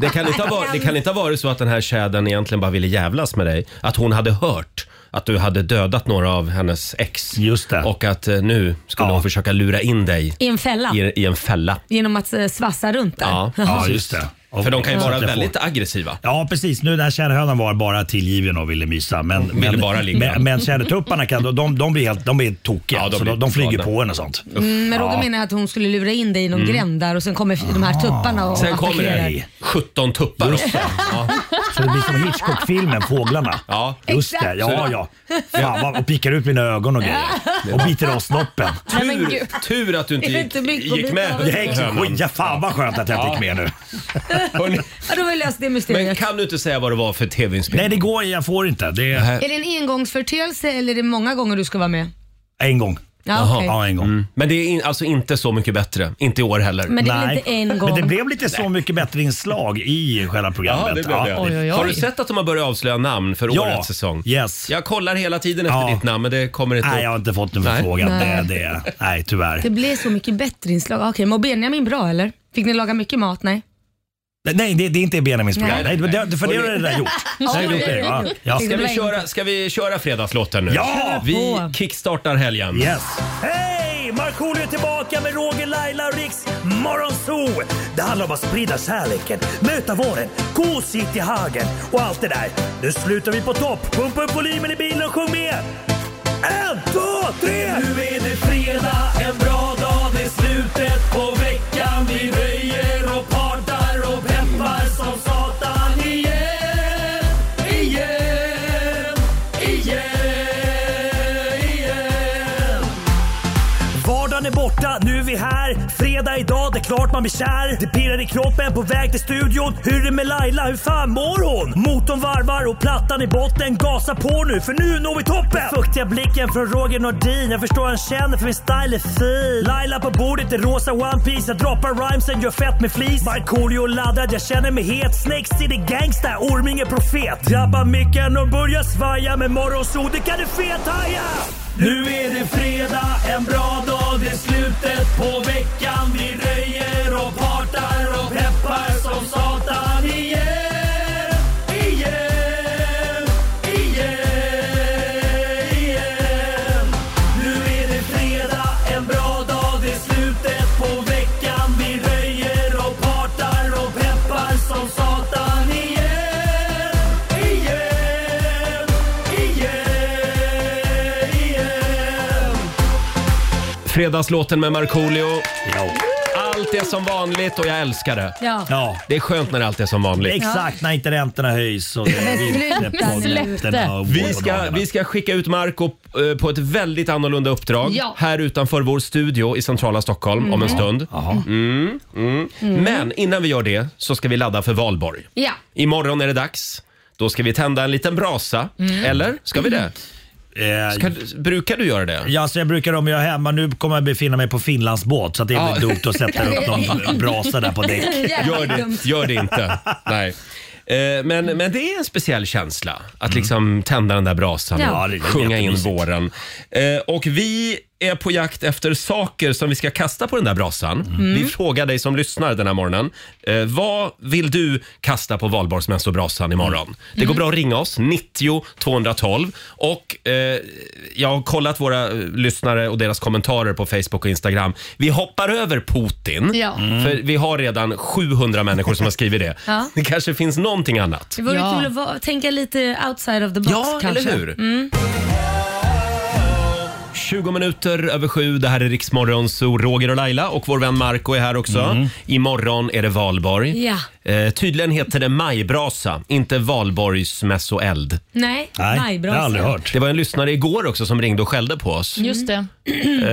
S1: Det kan, inte ha varit, det kan inte ha varit så att den här tjädern egentligen bara ville jävlas med dig. Att hon hade hört att du hade dödat några av hennes ex.
S9: Just det.
S1: Och att eh, nu skulle
S9: Ja.
S1: hon försöka lura in dig
S2: I en fälla.
S1: i, i en fälla.
S2: Genom att eh, svassa runt där.
S1: Ja.
S9: Ja, just det. Och-
S1: För de kan ju
S9: så
S1: vara
S9: att jag får-
S1: väldigt aggressiva.
S9: Ja, precis. Nu den här tjäderhönan var bara tillgiven och ville mysa. Men,
S1: Ville
S9: men,
S1: bara ligga.
S9: men, men tjädertupparna kan, de, de blir helt de blir tokiga.
S1: Ja, de
S9: de, så
S1: blir
S9: de, de flyger
S1: galna.
S9: på en och sånt.
S2: Mm, men Roger menar att hon skulle lura in dig i någon gränd där och sen kommer de här tupparna och
S1: Mm. Sen kommer
S2: attackerar.
S1: det 17 tuppar
S9: Just
S1: också.
S9: det.
S1: Ja.
S9: Så det blir som Hitchcock-filmen, Fåglarna.
S1: Ja.
S9: Just
S2: Exakt.
S9: det. Ja, ja. Fan, vad, och pikar ut mina ögon och grejer. Och biter av snoppen.
S1: Tur, tur att du inte
S2: Är det
S1: gick,
S2: inte mycket att
S1: gick
S2: bita
S1: med
S2: av?
S1: på
S9: Det är
S1: hönan.
S9: exakt- Ja, fan vad skönt att jag inte gick med nu.
S1: Hörrni,
S2: Ja, då har vi löst det
S1: Men
S2: mysteriet.
S1: kan du inte säga vad det var för tv-inspelning?
S9: Nej, det går Jag får inte. Det är
S1: eh,
S2: Är det en engångsförteelse eller är det många gånger du ska vara med?
S9: en gång.
S2: Ja, okej.
S9: Ja, en gång.
S1: Men det är in, alltså inte så mycket bättre. Inte i år heller.
S2: Men det är väl inte en gång?
S9: Men det blev lite så mycket bättre inslag i själva programmet.
S1: Ja, det blev det.
S9: Ja.
S4: Oj, oj, oj.
S1: Har du sett att de har börjat avslöja namn för
S9: Ja,
S1: årets säsong?
S9: yes.
S1: Jag kollar hela tiden efter
S9: Ja.
S1: ditt namn men det kommer inte
S9: Nej, jag har
S1: upp.
S9: inte fått någon
S1: Nej.
S9: förfrågan.
S2: Nej.
S9: Nej. Det, det, nej, tyvärr.
S2: Det blev så mycket bättre inslag. Okej, mår Benjamin bra eller? Fick ni laga mycket mat? Nej.
S9: Nej, det, det är inte Benjamins program. Nej, det- det, för det har du redan gjort. Så är det okej, va? Ja.
S1: Ska vi, köra, ska vi köra fredagslåten nu?
S9: Ja!
S1: Vi kickstartar helgen.
S9: Yes. Hej! Markoolio är tillbaka med Roger, Laila och Riks Morgonzoo. Det handlar om att sprida kärleken, möta våren, gosigt i hagen och allt det där. Nu slutar vi på topp. Pumpa upp volymen i bilen och sjung med. En, två, tre! Nu är det fredag, en bra dag, det är slutet på veckan. Vi röjer och partar och peppar som satan. Igen, igen, igen, igen. Vardagen är borta, nu är vi här. Fredag idag, det är klart man blir kär. Det pirrar i kroppen på väg till studion. Hur är det med Laila, hur fan mår hon? Motorn varvar och plattan i botten. Gasa på nu, för nu når vi toppen! Fuktiga blicken från Roger Nordin. Jag förstår han känner, för min style är fin. Laila på bordet i rosa One Piece Jag droppar rhymesen, gör fett med flis. Markoolio laddad, jag känner mig het. Snakes city gangsta, Orminge profet. Drabbar micken och börjar svaja. Med morgonsol, det kan du fethaja! Nu är det fredag, en bra dag, det är slutet på veckan. Vi röjer och partar och peppar som satan. Igen, igen, igen, igen. Nu är det fredag, en bra dag, det är slutet på veckan. Vi röjer och partar och peppar som satan. Igen, igen, igen, igen.
S1: Fredagslåten med Markoolio.
S9: Ja.
S1: Allt är som vanligt och jag älskar det.
S2: Ja.
S9: Ja,
S1: Det är skönt när allt är som vanligt.
S9: exakt. När inte räntorna höjs och det är inte på
S4: släpp det.
S9: nätterna och
S1: Vi ska, vi ska skicka ut Marco eh, på ett väldigt annorlunda uppdrag
S4: Ja.
S1: här utanför vår studio i centrala Stockholm om en stund. Mm, mm. Men innan vi gör det så ska vi ladda för valborg.
S4: Ja.
S1: Imorgon är det dags. Då ska vi tända en liten brasa. Eller? Ska vi det? Ska,
S9: Eh,
S1: brukar du göra det?
S9: Ja, så jag brukar om jag är hemma. Nu kommer jag befinna mig på Finlands båt så att det är
S1: Ja.
S9: väl dumt att sätta upp någon brasa där på däck.
S2: Jävla
S1: Gör
S2: dumt.
S1: det, gör det inte. Nej. Eh, Men, men det är en speciell känsla att liksom tända den där brasan
S2: Ja.
S9: Mm. Ja, det
S1: och
S9: är
S1: sjunga in
S9: jättemysigt.
S1: våren. Eh, Och vi är på jakt efter saker som vi ska kasta på den där brasan.
S9: Mm.
S1: Vi
S2: Mm.
S1: frågar dig som lyssnar den här morgonen. eh, Vad vill du kasta på valborgsmässobrasan imorgon? Det
S2: Mm.
S1: går bra att ringa oss, 90 212. Och eh, jag har kollat våra eh, lyssnare och deras kommentarer på Facebook och Instagram. Vi hoppar över Putin.
S4: Ja.
S1: För vi har redan 700 människor som har skrivit det.
S2: Ja.
S1: Det kanske finns någonting annat.
S2: Det vore
S4: Ja.
S2: kul att va- tänka lite outside of the box
S1: Ja,
S2: kanske. Mm.
S1: eller hur? 20 minuter över sju. Det här är
S9: Mhm.
S1: Riksmorgon, så Roger och Laila och vår vän Marco är här också. Imorgon är det valborg.
S2: Ja.
S1: Eh, tydligen heter det majbrasa, inte valborgsmässoeld.
S2: Nej,
S9: Nej, det har
S2: majbrasa.
S9: jag aldrig hört.
S1: Det var en lyssnare igår också som ringde och skällde på oss.
S4: Just det.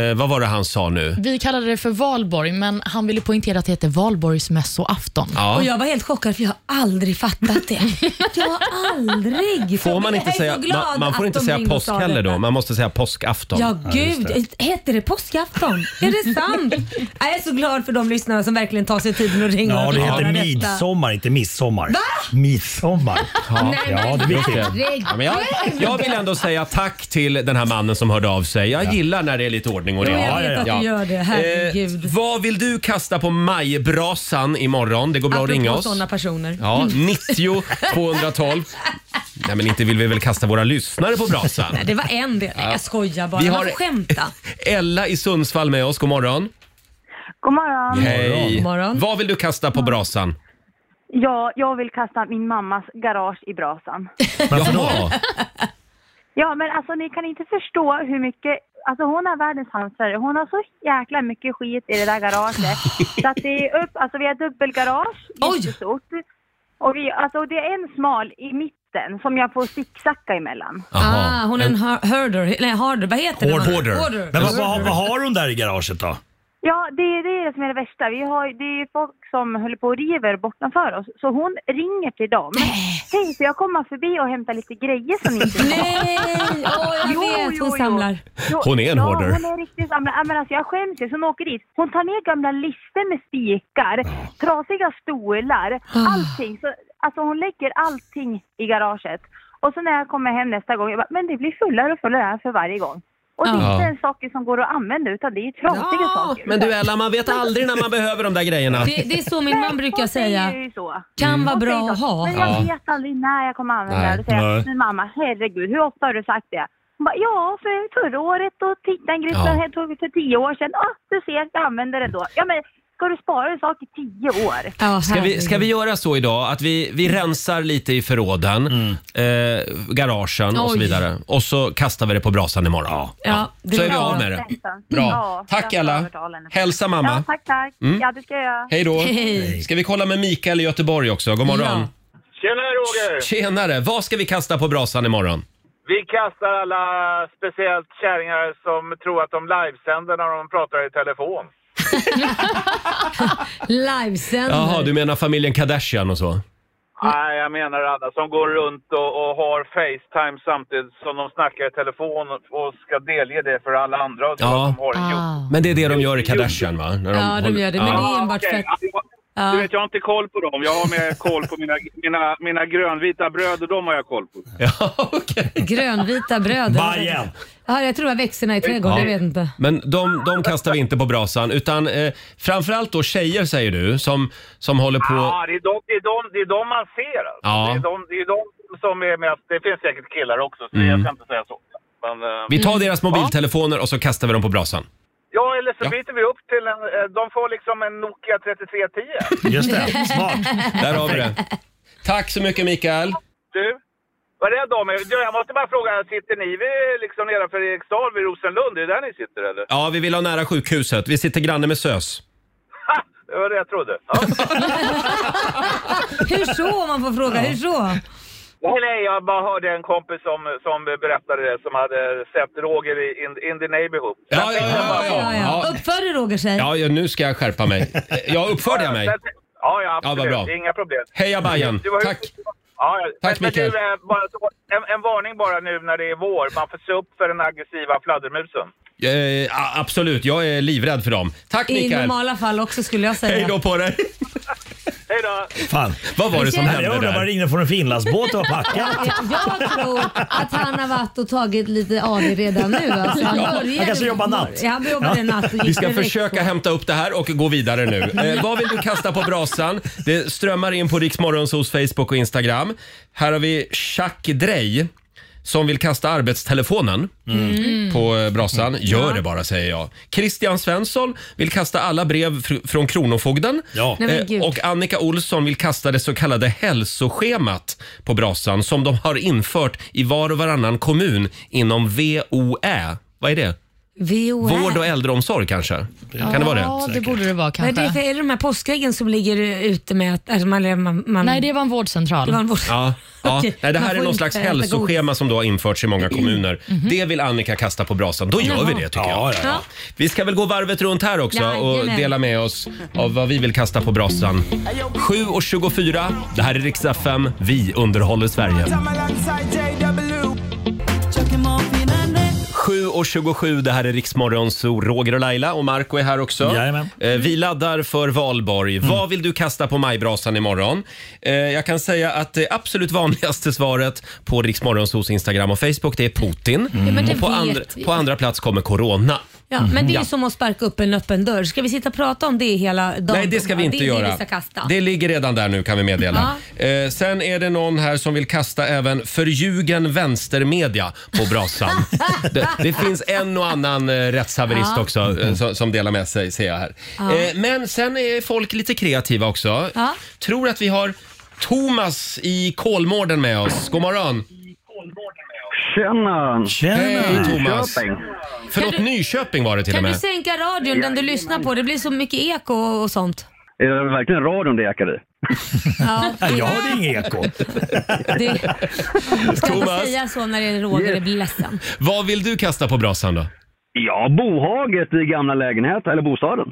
S1: Eh, vad var det han sa nu?
S4: Vi kallade det för valborg, men han ville poängtera att det heter valborgsmässoafton.
S1: Ja.
S2: Och jag var helt chockad för jag har aldrig fattat det. Jag har aldrig.
S1: Får man inte
S2: jag är
S1: säga,
S2: så glad
S1: man, man får
S2: att
S1: inte
S2: de
S1: säga
S2: ringde och
S1: påsk
S2: sa
S1: heller
S2: detta.
S1: då. Man måste säga påskafton.
S2: Ja, gud. Hette det påskafton? Är det sant? jag är så glad för de lyssnarna som verkligen tar sig tiden och ringer.
S9: Ja,
S2: och
S9: det
S2: förklarar
S9: heter
S2: detta.
S9: midsommar, inte midsommar. Va? Midsommar. Ja, ja det är
S1: Just
S9: viktigt.
S1: det. Ja, men jag, jag vill ändå säga tack till den här mannen som hörde av sig. Jag gillar när det är lite ordning och
S2: Ja,
S1: reda.
S2: jag vet att du gör det. Herregud.
S1: Eh, vad vill du kasta på majbrasan imorgon? Det går bra att ringa oss.
S2: sådana personer. Mm.
S1: Ja, 90 212. Nej, men inte vill vi väl kasta våra lyssnare på brasan?
S2: Nej, det var en del. Nej, jag skojar bara.
S1: Vi
S2: Vi
S1: har-
S2: har... Man får skämta.
S1: Ella i Sundsvall med oss. God morgon.
S7: God morgon.
S1: Hej.
S2: God morgon.
S1: Vad vill du kasta på brasan?
S7: Ja, jag vill kasta min mammas garage i brasan.
S1: Varför då?
S7: Ja, men alltså ni kan inte förstå hur mycket... Alltså hon är världens hamstrare. Hon har så jäkla mycket skit i det där garaget. så att det är upp... Alltså vi har dubbelgarage,
S2: Oj!
S7: jättestort. Och vi, alltså det är en smal i mitten som jag får sicksacka emellan.
S2: Ah, hon är en hur- herder. Nej, harder. Vad heter det?
S1: Hoarder.
S2: Hoarder.
S9: Men vad, vad, vad har hon där i garaget då?
S7: Ja, det är det som är det värsta. Vi har, det är folk som håller på och river bortanför oss. Så hon ringer till dem. Hej, får jag komma förbi och hämta lite grejer som ni inte har?"
S2: Nej, åh jag
S7: Jo,
S2: vet.
S7: jo,
S2: Hon
S7: jo.
S2: samlar.
S7: Jo,
S1: Hon är en
S7: ja,
S1: hoarder.
S7: Hon är riktigt samlare. Ja, men alltså, jag skäms ju. Så hon åker dit. Hon tar ner gamla lister med spikar, trasiga stolar,
S2: Ah.
S7: allting. Så, alltså hon lägger allting i garaget. Och så när jag kommer hem nästa gång, jag bara, men det blir fullare och fullare här för varje gång. Och det är
S1: Ja.
S7: inte ens saker som går att använda utan det är ju trasiga
S2: Ah. Ja,
S7: saker.
S1: Men du Ella, man vet aldrig när man behöver de där grejerna.
S2: Det, det är så min man brukar
S7: Hon
S2: säga.
S7: säger ju så. Mm.
S2: Kan vara
S7: Hon säger
S2: bra
S7: så.
S2: att ha.
S7: Men jag
S1: Ja.
S7: vet aldrig när jag kommer använda
S1: Nej.
S7: det. Då säger
S9: Nej.
S7: jag, men mamma, herregud, hur ofta har du sagt det? Hon bara, ja, för förra året och
S1: Ja.
S7: tittargripen ja. tog vi för tio år sedan. Ah, du ser, jag använder det då. Ja, men ska du spara en sak i tio år?
S2: Ja,
S1: Ska vi, ska vi
S2: herregud.
S1: göra så idag att vi, vi rensar lite i förråden, eh, garagen och så
S2: Oj.
S1: vidare. Och så kastar vi det på brasan imorgon.
S2: Ja, det
S1: så är
S2: är
S1: vi
S2: bra.
S1: av med det.
S7: Nästan.
S1: Bra.
S7: Ja,
S1: Tack,
S7: jag ska
S1: Ella.
S7: övertala henne.
S1: Hälsa mamma. Mm.
S7: Ja, tack, tack. Ja, det ska jag göra.
S1: Hej då.
S2: Hej.
S1: Ska vi kolla med Mikael i Göteborg också? God morgon.
S10: Tjena Roger!
S1: Tjenare! Vad ska vi kasta på brasan imorgon?
S10: Vi kastar alla speciellt kärringar som tror att de livesänder när de pratar i telefon.
S2: Livesänder.
S1: Jaha, du menar familjen Kardashian och så?
S10: Nej, jag menar alla som går runt och, och har Facetime samtidigt som de snackar i telefon och ska delge det för alla andra och tror
S1: Ja.
S10: att de har en jobb.
S4: Ah.
S1: Men det är det de gör i Kardashian va? När
S2: Ja, de
S1: håller-
S2: gör det. Men det
S1: Ja.
S2: är enbart för
S10: Okej,
S2: att...
S10: ja, Du vet, jag har inte koll på dem. Jag har mer koll på mina, mina, mina grönvita bröder. De har jag koll på.
S1: Ja, okej.
S2: Grönvita bröder.
S9: Bajen.
S2: Ja, jag tror det var växterna i trädgården.
S1: Ja.
S2: Jag vet inte.
S1: Men de, de kastar vi inte på brasan utan eh, framförallt då tjejer säger du som, som håller på...
S10: Ja, det är de, det är de, det är de man ser alltså.
S1: Ja.
S10: Det, är de, det är de som är mest... Det finns säkert killar också, så jag ska inte säga så. Men, eh,
S1: Mm. Vi tar deras mobiltelefoner och så kastar vi dem på brasan.
S10: Ja, eller så
S1: Ja.
S10: byter vi upp till en... eh, De får liksom en Nokia 3310.
S9: Just det, smart.
S1: Där har vi det. Tack så mycket Mikael.
S10: Du, var rädd om er. Du, Jag måste bara fråga, sitter ni vid, liksom nedanför Eriksdal vid Rosenlund? Är det där ni sitter eller?
S1: Ja, vi vill ha nära sjukhuset. Vi sitter granne med SÖS.
S10: Ha! Det var det jag trodde. Ja.
S2: Hur så om man får fråga? Hur så?
S10: nej, nej, jag bara hörde en kompis som, som berättade det, som hade sett Roger i in, in the neighborhood.
S1: Ja, ja, ja,
S2: Ja, ja.
S1: ja.
S2: Uppför dig Roger sig.
S1: Ja, ja, nu ska jag skärpa mig. Jag uppförde jag mig?
S10: Men- Ja, ja,
S1: vad
S10: absolut.
S1: bra.
S10: Inga problem.
S1: Heja Bajen.
S10: Du var ju-
S1: Tack.
S10: Ja, ja.
S1: Tack,
S10: men,
S1: Mikael.
S10: Men du, eh, bara, så- en, en varning bara nu när det är vår. Man får se upp för den aggressiva fladdermusen.
S1: Eh, a- absolut, jag är livrädd för dem. Tack
S2: I
S1: Mikael.
S2: normala fall också skulle jag säga.
S1: Hej då på dig.
S10: Hej då!
S9: Fan.
S1: Vad var det som
S9: Nej, Jag
S1: hände
S9: undrar vad det
S1: där?
S9: ringde från en Finlandsbåt och var packad.
S2: Ja, Jag tror att han har varit och tagit lite AD redan nu. Alltså, han,
S9: Ja,
S2: började-
S9: han kanske jobbar natt.
S2: Ja, han jobbade natt. och gick
S1: Vi ska
S2: direkt
S1: försöka
S2: på.
S1: hämta upp det här och gå vidare nu. Eh, vad vill du kasta på brasan? Det strömmar in på Riksmorgonsos Facebook och Instagram. Här har vi Jacques Drey som vill kasta arbetstelefonen
S2: Mm.
S1: på eh, brasan. Gör det bara, säger jag. Christian Svensson vill kasta alla brev fr- från Kronofogden.
S9: Ja.
S2: Nej, men
S1: Eh,
S2: gud.
S1: Och Annika Olsson vill kasta det så kallade hälsoschemat på brasan som de har infört i var och varannan kommun inom VOÄ. Vad är det?
S2: VOR.
S1: Vård och äldreomsorg kanske? Kan det vara
S4: Ja,
S1: det?
S4: det borde det vara
S2: Vad
S4: kanske.
S2: är, det för, är det de här påskäggen som ligger ute med att alltså man, man, man...
S4: Nej, det var en vårdcentral.
S2: Det var en vård...
S1: Ja. Ja.
S2: Okej,
S1: Nej, det
S2: man
S1: här är
S2: får
S1: någon
S2: inte
S1: slags
S2: äta
S1: hälsoschema som då har införts i många kommuner.
S2: Mhm.
S1: Det vill Annika kasta på brasan. Då gör
S2: Jaha.
S1: vi det tycker jag.
S2: ja, ja.
S1: Vi ska väl gå varvet runt här också och
S2: Jajamän. Mm.
S1: dela med oss av vad vi vill kasta på brasan. 7.24, det här är riks FM. Vi underhåller Sverige. 7.27, det här är Riksmorgon, så Roger och Laila och Marco är här också. Eh, Vi laddar för valborg. Vad vill du kasta på majbrasan imorgon? Eh, Jag kan säga att det absolut vanligaste svaret på Riksmorgonsos Instagram och Facebook, det är Putin.
S2: Mm. men det
S1: Och på,
S2: vet
S1: andra,
S2: vi.
S1: på andra plats kommer corona.
S2: Ja, men det är
S1: Ja.
S2: ju som att sparka upp en öppen dörr. Ska vi sitta och prata om det hela dagen?
S1: Nej, det ska vi inte
S2: det är
S1: göra.
S2: Det, vi ska kasta.
S1: Det ligger redan där nu kan vi meddela. Eh, sen är det någon här som vill kasta även förljugen vänstermedia på brasan. det, det finns en och annan eh, rättshaverist
S11: Ja.
S1: också eh, som, som delar med sig, ser jag här.
S11: Ja.
S1: Eh, men sen är folk lite kreativa också.
S11: Ja.
S1: Tror att vi har Thomas i Kolmården med oss. God morgon.
S12: Tjena!
S9: Tjena!
S1: Hej Thomas!
S12: Nyköping.
S1: Förlåt, Nyköping var det till och
S2: Kan
S1: med.
S2: du sänka radion, den du lyssnar på? Det blir så mycket eko och sånt.
S12: Är det verkligen radion det ekar i?
S2: Ja,
S9: Jag hörde inget eko.
S2: det ska inte
S1: Thomas,
S2: säga så när det är Roger, det blir ledsen.
S1: vad vill du kasta på brasan då?
S12: Ja, bohaget i gamla lägenheten, eller bostaden.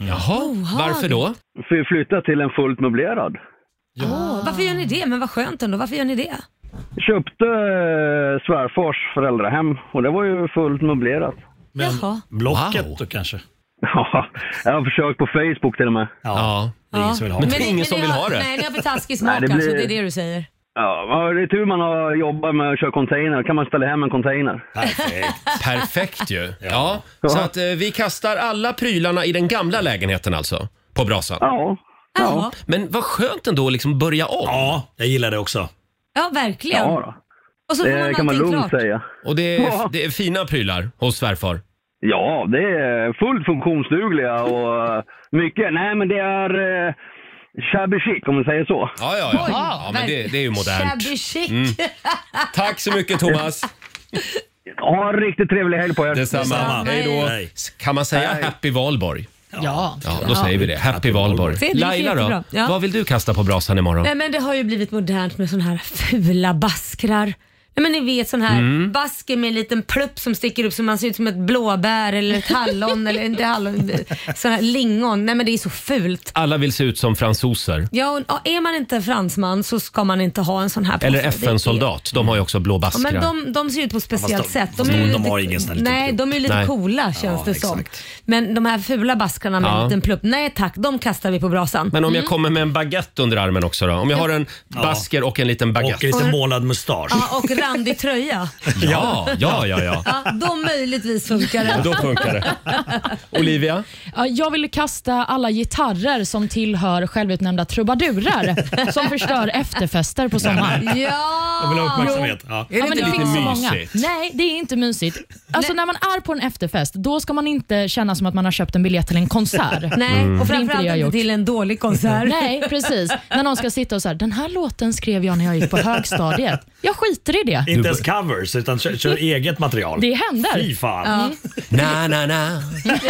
S1: Jaha,
S2: Bohaget. varför
S1: då?
S12: För vi flyttar till en fullt möblerad.
S2: Åh, varför gör ni det? Men vad skönt ändå. Varför gör ni det?
S12: Köpte eh, svärfars föräldrahem och det var ju fullt möblerat.
S9: Men
S2: Jaha.
S9: Blocket då kanske?
S12: Ja, jag har försökt på Facebook till och med.
S1: Ja,
S9: det är ingen som vill ha det.
S2: Nej, ni har för taskig smak
S12: Nej, det
S2: alltså.
S12: blir-
S2: Det är det du säger.
S12: Ja, men det är tur man har jobbat med att köra container. kan man ställa hem en container.
S1: Perfekt ju. Ja. Så att eh, vi kastar alla prylarna i den gamla lägenheten alltså, på brasan.
S12: Ja.
S2: Ja.
S1: Men vad skönt ändå att liksom börja om. Ja, jag gillar det också.
S2: Ja, verkligen. Och så får man allting klart.
S1: Och det är,
S2: Ja.
S1: det är fina prylar hos svärfar.
S12: Ja, det är fullt funktionsdugliga och eh, mycket. Nej, men det är eh, shabby chic om man säger så.
S1: Ja, ja, ja. ja men det, det är ju modernt.
S2: Shabby chic.
S1: Mm. Tack så mycket Thomas.
S12: Ha en riktigt trevlig helg på er.
S1: Detsamma. Hej då. Kan man säga
S12: Hej.
S1: happy valborg?
S4: Ja.
S1: Ja, då säger vi det. Happy
S2: Det
S1: valborg.
S2: låter
S1: Laila
S2: jättebra.
S1: då?
S2: Ja.
S1: Vad vill du kasta på brasan imorgon?
S2: Nej, men det har ju blivit modernt med såna här fula baskrar. Nej, men ni vet sån här
S1: Mm.
S2: basker med en liten plupp som sticker upp så man ser ut som ett blåbär eller ett hallon eller inte hallon, sån här lingon. Nej men det är så fult.
S1: Alla vill se ut som fransoser.
S2: Ja, och, och är man inte fransman så ska man inte ha en sån här på
S1: Eller
S2: sig. Det är-
S1: FN-soldat. De har ju också blå
S2: Ja, men
S1: baskrar.
S2: de, de ser ut på ett
S1: Ja, fast
S2: speciellt
S1: de-
S2: sätt.
S1: fast
S2: ju
S1: de- de har ingen sån här liten
S2: Nej,
S1: plupp.
S2: de är ju lite
S1: Nej.
S2: coola känns det som. Men de här fula baskarna med
S1: Ja.
S2: en liten plupp, nej tack, de kastar vi på brasan.
S1: Men om jag
S2: Mm.
S1: kommer med en baguette under armen också då? Om jag har en basker och en liten baguette. Och en
S2: liten
S1: målad mustasch.
S2: Ja, och randig tröja.
S1: Ja, ja, ja, ja.
S2: Ja, de möjligtvis funkar
S1: Ja,
S2: det.
S1: Då funkar det. Olivia?
S4: Ja, Jag vill kasta alla gitarrer som tillhör självutnämnda trubadurer som förstör efterfester på sommaren.
S2: Ja!
S9: Jag vill ha uppmärksamhet. Ja.
S4: Ja, men det finns så många.
S9: mysigt?
S4: Nej, det är inte mysigt. Alltså när man är på en efterfest, då ska man inte känna som att man har köpt en biljett till en konsert.
S2: Nej,
S4: Det är
S2: och
S4: det
S2: framförallt
S4: jag
S2: inte,
S4: har gjort.
S2: till en dålig konsert.
S4: Nej, precis. När någon ska sitta och så här, den här låten skrev jag när jag gick på högstadiet. Jag skiter i det.
S9: Inte ens covers, utan kör, kör eget material.
S4: Det händer.
S9: Fy fan.
S4: Ja.
S1: Na, na, na.
S2: Nej.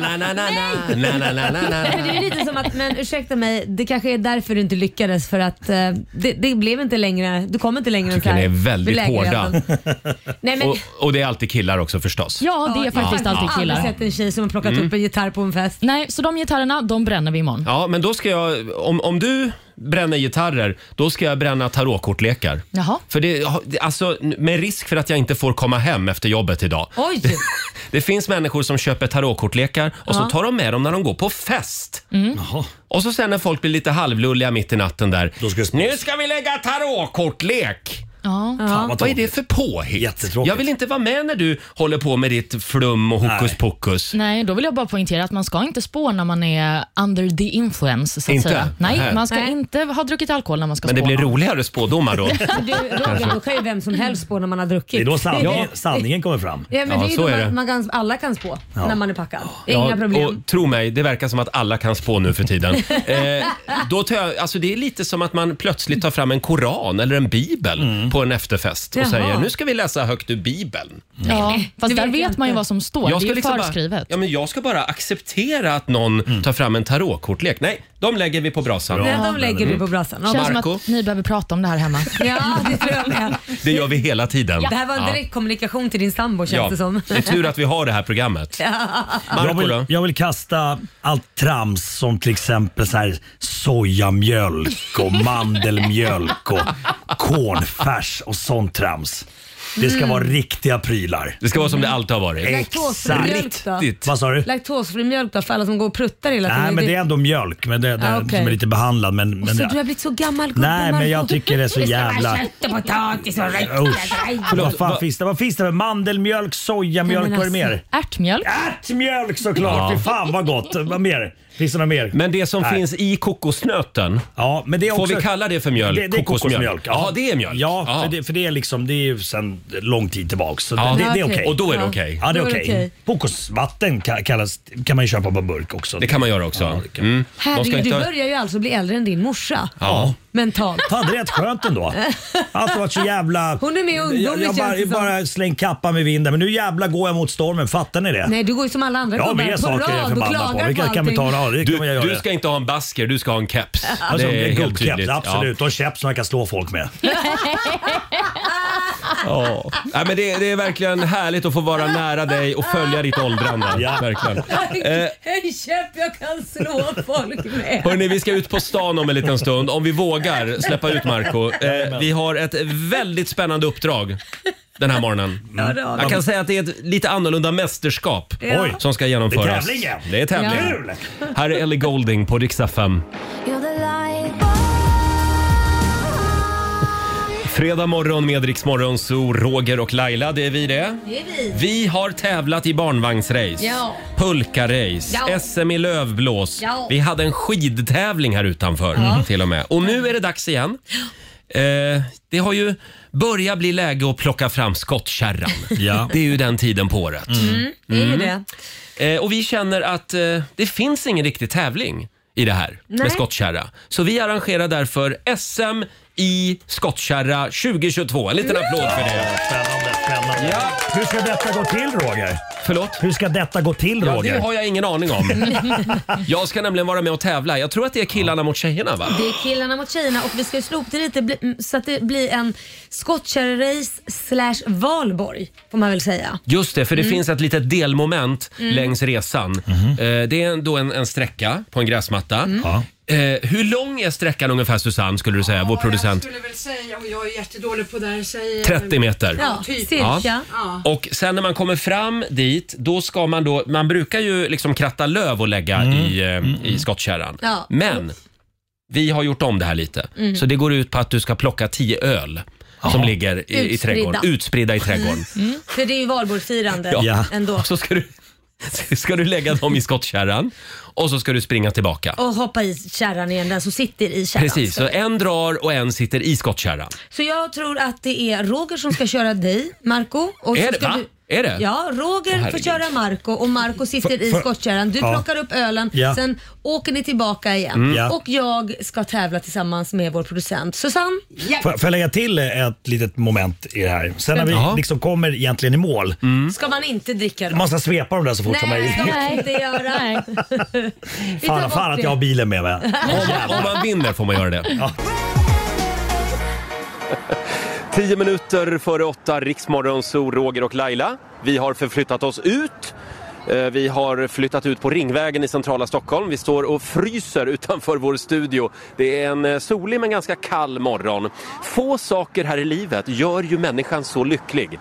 S1: Na, na, na, na. Na, na, na, na, na.
S2: Men Det är lite som att, men ursäkta mig, det kanske är därför du inte lyckades för att eh, det, det blev inte längre, du kom inte längre än så
S1: Tycker
S2: här.
S1: ni är väldigt
S2: vid lägerelden.
S1: hårda.
S2: Nej, men,
S1: Och, och det är alltid killar också förstås.
S4: Ja, det är faktiskt alltid
S2: Jag har
S4: killar.
S2: aldrig sett en tjej som har plockat
S1: Mm.
S2: upp en gitarr på en fest.
S4: Nej, så de gitarrerna, de bränner vi imorgon.
S1: Ja, men då ska jag... Om, om du bränner gitarrer, då ska jag bränna tarotkortlekar.
S4: Jaha.
S1: För det, alltså, med risk för att jag inte får komma hem efter jobbet idag.
S2: Oj!
S1: Det finns människor som köper tarotkortlekar och så
S2: Ja.
S1: tar de med dem när de går på fest.
S2: Mm.
S1: Och så sen när folk blir lite halvlulliga mitt i natten där. nu ska vi lägga tarotkortlek!
S4: Ja.
S1: vad, är det för påhitt? Jag vill inte vara med när du håller på med ditt flum och hokus pokus.
S4: Nej, då vill jag bara poängtera att man ska inte spå när man är under the influence. Så att
S1: Inte?
S4: Säga.
S1: Nej.
S4: Nej, man ska
S1: Nej.
S4: inte ha druckit alkohol när man ska
S1: Men det
S4: spåna.
S1: blir roligare spådomar då.
S2: Du, Roger, då kan ju vem som helst spå när man har druckit.
S1: Det är då sanningen-
S2: Ja.
S1: sanningen kommer fram.
S2: Ja, men
S1: Ja,
S2: det är ju
S1: så
S2: då
S1: är
S2: man,
S1: det.
S2: man kan, alla kan spå
S1: Ja.
S2: när man är packad.
S1: Ja,
S2: Inga problem.
S1: Och tro mig, det verkar som att alla kan spå nu för tiden. eh, då tar jag, alltså det är lite som att man plötsligt tar fram en koran eller en bibel på en efterfest och
S4: Jaha.
S1: säger nu ska vi läsa högt ur Bibeln.
S4: Ja, fast där vet man ju vad som står. Det är ju
S1: liksom
S4: förskrivet.
S1: Bara, ja, men jag ska bara acceptera att någon
S9: Mm.
S1: tar fram en tarotkortlek. Nej, de lägger vi på brasan.
S4: Ja, de lägger vi på
S2: brasan.
S4: Känns
S1: Marco,
S4: som att ni behöver prata om det här hemma.
S2: Ja, det tror jag med.
S1: det gör vi hela tiden.
S2: Det här var en direkt kommunikation till din sambo känns
S1: Ja.
S2: det som.
S1: Det är tur att vi har det här programmet.
S2: Ja.
S9: Jag vill, jag vill kasta allt trams som till exempel så här sojamjölk och mandelmjölk och kornfärs och sånt trams. Det ska
S2: Mm.
S9: vara riktiga prylar.
S1: Det ska vara som det alltid har varit.
S2: Laktosfri mjölk då?
S9: Exakt. Vad sa du?
S2: Laktosfri mjölk då för alla som går och pruttar hela tiden?
S9: Nej, men det är ändå mjölk men det, det,
S2: Ah, okej.
S9: som är lite behandlad. Men, men
S2: Så
S9: det,
S2: du har blivit så gammal gubbe,
S9: Nej, men jag
S2: Marco.
S9: tycker det är så
S2: ska vara
S9: jävla-
S2: kött och potatis och räkor.
S9: Usch. Vad fan finns det? Vad finns det för mandelmjölk, sojamjälk, vad är det mer?
S4: Ärtmjölk.
S9: Ärtmjölk
S1: Ja.
S9: såklart! Fy fan vad gott! Vad mer? Finns det något mer?
S1: Men det som
S9: Nej.
S1: finns i kokosnöten,
S9: ja, men det är
S1: får
S9: också-
S1: vi kalla det för mjölk?
S9: Det, det är kokosmjölk.
S1: Ja, det är mjölk.
S9: Ja,
S1: Ja.
S9: För, det, för det är liksom, det är ju sedan lång tid tillbaka. Så
S1: Ja.
S9: det, det, det är
S1: Ja,
S9: okej.
S1: okej. Och då är det Ja. okej.
S9: Ja, det är
S1: Då är det
S9: okej.
S1: okej.
S9: Kokosvatten ka- kallas, kan man ju köpa på burk också.
S1: Det kan man göra också. Mm.
S2: Herregud, du börjar ju alltså bli äldre än din morsa.
S9: Ja.
S2: Mentalt.
S9: Fan, det är rätt skönt ändå. Allt varit så jävla...
S2: Hon är med i ungdomen,
S9: Jag, jag bara,
S2: känns det som.
S9: bara släng kappan med vinden, men nu jävla går jag mot stormen. Fattar ni det?
S2: Nej, du går ju som alla andra
S9: Ja,
S2: gubbar
S9: men det är saker jag är
S2: och
S9: förbannad
S2: klagar
S9: på. Vilka kan
S2: allting.
S9: vi ta en av? Det kan man
S1: Du,
S9: göra.
S1: du ska inte ha en basker, du ska ha en keps.
S9: Alltså,
S1: det är helt
S9: gubbkeps,
S1: tydligt.
S9: absolut. Och keps som jag kan slå folk med.
S1: Ja. Ja. Nej, men det, det är verkligen härligt att få vara nära dig och följa ditt åldrande. Ja. Verkligen. Eh,
S2: En käpp jag kan slå folk med.
S1: Hörni, vi ska ut på stan om en liten stund. Om vi vågar släppa ut Marco. Eh,
S2: Jajamän.
S1: vi har ett väldigt spännande uppdrag den här morgonen.
S2: Ja, det har vi.
S1: Jag kan säga att det är ett lite annorlunda mästerskap
S2: Ja. Oj.
S1: som ska genomföras.
S9: Det är tävling, ja.
S1: Det är tävling.
S9: Ja. Kul!
S1: Här är Ellie Golding på Rix FM. Fredag morgon med Rix Morgon, så Roger och Laila, det är vi det.
S2: Det är vi.
S1: Vi har tävlat i barnvagnsrace,
S2: Ja.
S1: pulkarace,
S2: Ja.
S1: SM i lövblås.
S2: Ja.
S1: Vi hade en skidtävling här utanför
S2: Ja.
S1: till och med. Och nu är det dags igen. Eh, det har ju börjat bli läge att plocka fram skottkärran.
S9: Ja.
S1: Det är ju den tiden på året.
S2: Mm, det är ju det.
S1: Eh, och vi känner att eh, det finns ingen riktig tävling i det här
S2: Nej.
S1: med skottkärra. Så vi arrangerar därför SM i skottkärra 2022. En liten applåd för det.
S9: Spännande, spännande. Hur ska detta gå till Roger?
S1: Förlåt?
S9: Hur ska detta gå till
S1: Ja,
S9: Roger?
S1: det har jag ingen aning om. Jag ska nämligen vara med och tävla. Jag tror att det är killarna mot tjejerna va?
S2: Det är killarna mot tjejerna och vi ska ju slå ihop det lite bli- mm, så att det blir en skottkärra-race slash valborg får man väl säga.
S1: Just det, för det
S2: Mm.
S1: finns ett litet delmoment
S2: Mm.
S1: längs resan. Eh, Det är då en, en sträcka på en gräsmatta.
S2: Mm.
S1: Eh, hur lång är sträckan ungefär Susanne, skulle du säga, vår
S8: Jag
S1: producent?
S8: skulle väl säga, och jag är jättedålig på det här, säger
S1: 30 meter.
S8: Ja, typ.
S1: Ja.
S8: Ja.
S1: Och sen när man kommer fram dit, då ska man då, man brukar ju liksom kratta löv och lägga i, eh, i skottkärran.
S2: Ja.
S1: Men vi har gjort om det här lite.
S2: Mm.
S1: Så det går ut på att du ska plocka 10 öl som ligger i, i
S2: Utspridda.
S1: trädgården, utspridda i trädgården.
S2: Mm. För det är ju valborgsfirande ändå.
S1: Så ska du, ska du lägga dem i skottkärran och så ska du springa tillbaka.
S2: Och hoppa i kärran igen, den som sitter i kärran.
S1: Precis, så en drar och en sitter i skottkärran.
S2: Så jag tror att det är Roger som ska köra dig, Marco. Och
S1: Är
S2: så
S1: det-
S2: ska
S1: va? Är det?
S2: Ja,
S1: Åh,
S2: Roger får
S1: herregud.
S2: köra Marco och Marco sitter
S1: Får-
S2: i
S1: får-
S2: skottkärran. Du
S1: Ja.
S2: plockar upp ölen,
S1: Ja.
S2: sen åker ni tillbaka igen.
S9: Mm. Ja.
S2: Och jag ska tävla tillsammans med vår producent Susanne.
S9: Får får jag lägga till ett litet moment i det här? Sen när vi
S2: Jaha.
S9: liksom kommer egentligen i mål.
S1: Mm.
S2: Ska man inte dricka då?
S9: Man ska svepa dem där så fort
S2: Nej,
S9: som möjligt.
S2: det ska man inte göra. Vi tar
S9: Fan,
S2: bort
S9: fan att
S2: det.
S9: jag har bilen med mig.
S1: Om man, om man vinner får man göra det. Tio minuter före åtta, Riksmorgon, så Roger och Laila. Vi har förflyttat oss ut. Eh, Vi har flyttat ut på Ringvägen i centrala Stockholm. Vi står och fryser utanför vår studio. Det är en eh, solig men ganska kall morgon. Få saker här i livet gör ju människan så lycklig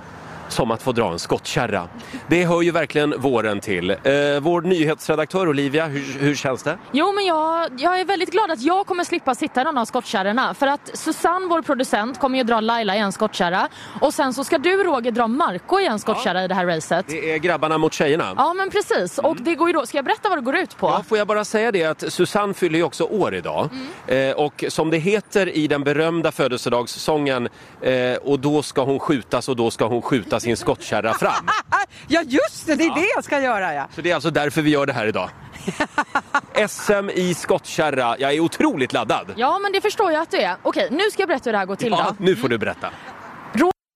S1: som att få dra en skottkärra. Det hör ju verkligen våren till. Eh, Vår nyhetsredaktör Olivia, hur, hur känns det?
S4: Jo, men jag, jag är väldigt glad att jag kommer slippa sitta i någon av skottkärrorna. För att Susanne, vår producent, kommer ju dra Laila i en skottkärra. Och sen så ska du, Roger, dra Marco i en skottkärra i det här racet.
S1: Det är grabbarna mot tjejerna.
S4: Ja, men precis. Och det går ju då... Ska jag berätta vad det går ut på?
S1: Ja, får jag bara säga det att Susanne fyller ju också år idag.
S8: Mm.
S1: Eh, och som det heter i den berömda födelsedagssången, eh, och då ska hon skjutas och då ska hon skjuta sin skottkärra fram.
S8: Ja, just det, det är det jag ska göra ja.
S1: Så det är alltså därför vi gör det här idag. SM i skottkärra. Jag är otroligt laddad.
S4: Ja, men det förstår jag att du är. Okej, nu ska jag berätta hur det här går till
S1: Ja,
S4: då.
S1: nu får du berätta.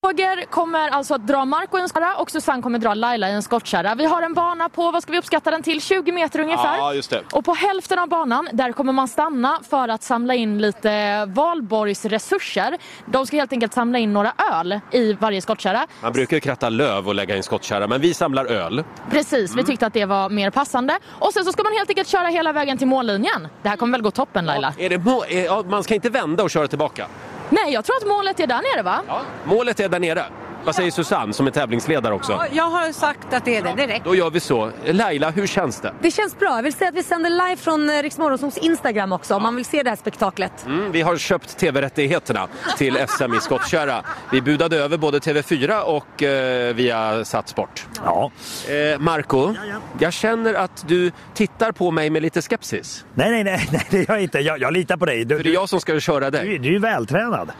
S4: Roger kommer alltså att dra Marco i en skottkärra och Susanne kommer dra Laila i en skottkärra. Vi har en bana på, vad ska vi uppskatta den till, 20 meter ungefär?
S1: Ja, just det.
S4: Och på hälften av banan, där kommer man stanna för att samla in lite Valborgs resurser. De ska helt enkelt samla in några öl i varje skottkärra.
S1: Man brukar ju kratta löv och lägga i en skottkärra, men vi samlar öl.
S4: Precis,
S1: Mm.
S4: vi tyckte att det var mer passande. Och sen så ska man helt enkelt köra hela vägen till mållinjen. Det här kommer väl gå toppen Laila?
S1: Är det må- är, ja, man ska inte vända och köra tillbaka.
S4: Nej, jag tror att målet är där nere va?
S1: Målet är där nere. Vad säger Susanne som är tävlingsledare också?
S2: Jag har sagt att det är det, det räcker.
S1: Då gör vi så. Laila, hur känns det?
S2: Det känns bra. Jag vill säga att vi sänder live från eh, Rix Morgonzoos Instagram också om man vill se det här spektaklet.
S1: Mm, vi har köpt tv-rättigheterna till SM i skottkärra. Vi budade över både TV4 och eh, via Sport. Ja. Eh, Marco, jag känner att du tittar på mig med lite skepsis.
S9: Nej, nej, nej, nej det gör jag inte. Jag, jag litar på dig. Du,
S1: För det är jag som ska köra dig.
S9: Du, du är ju vältränad.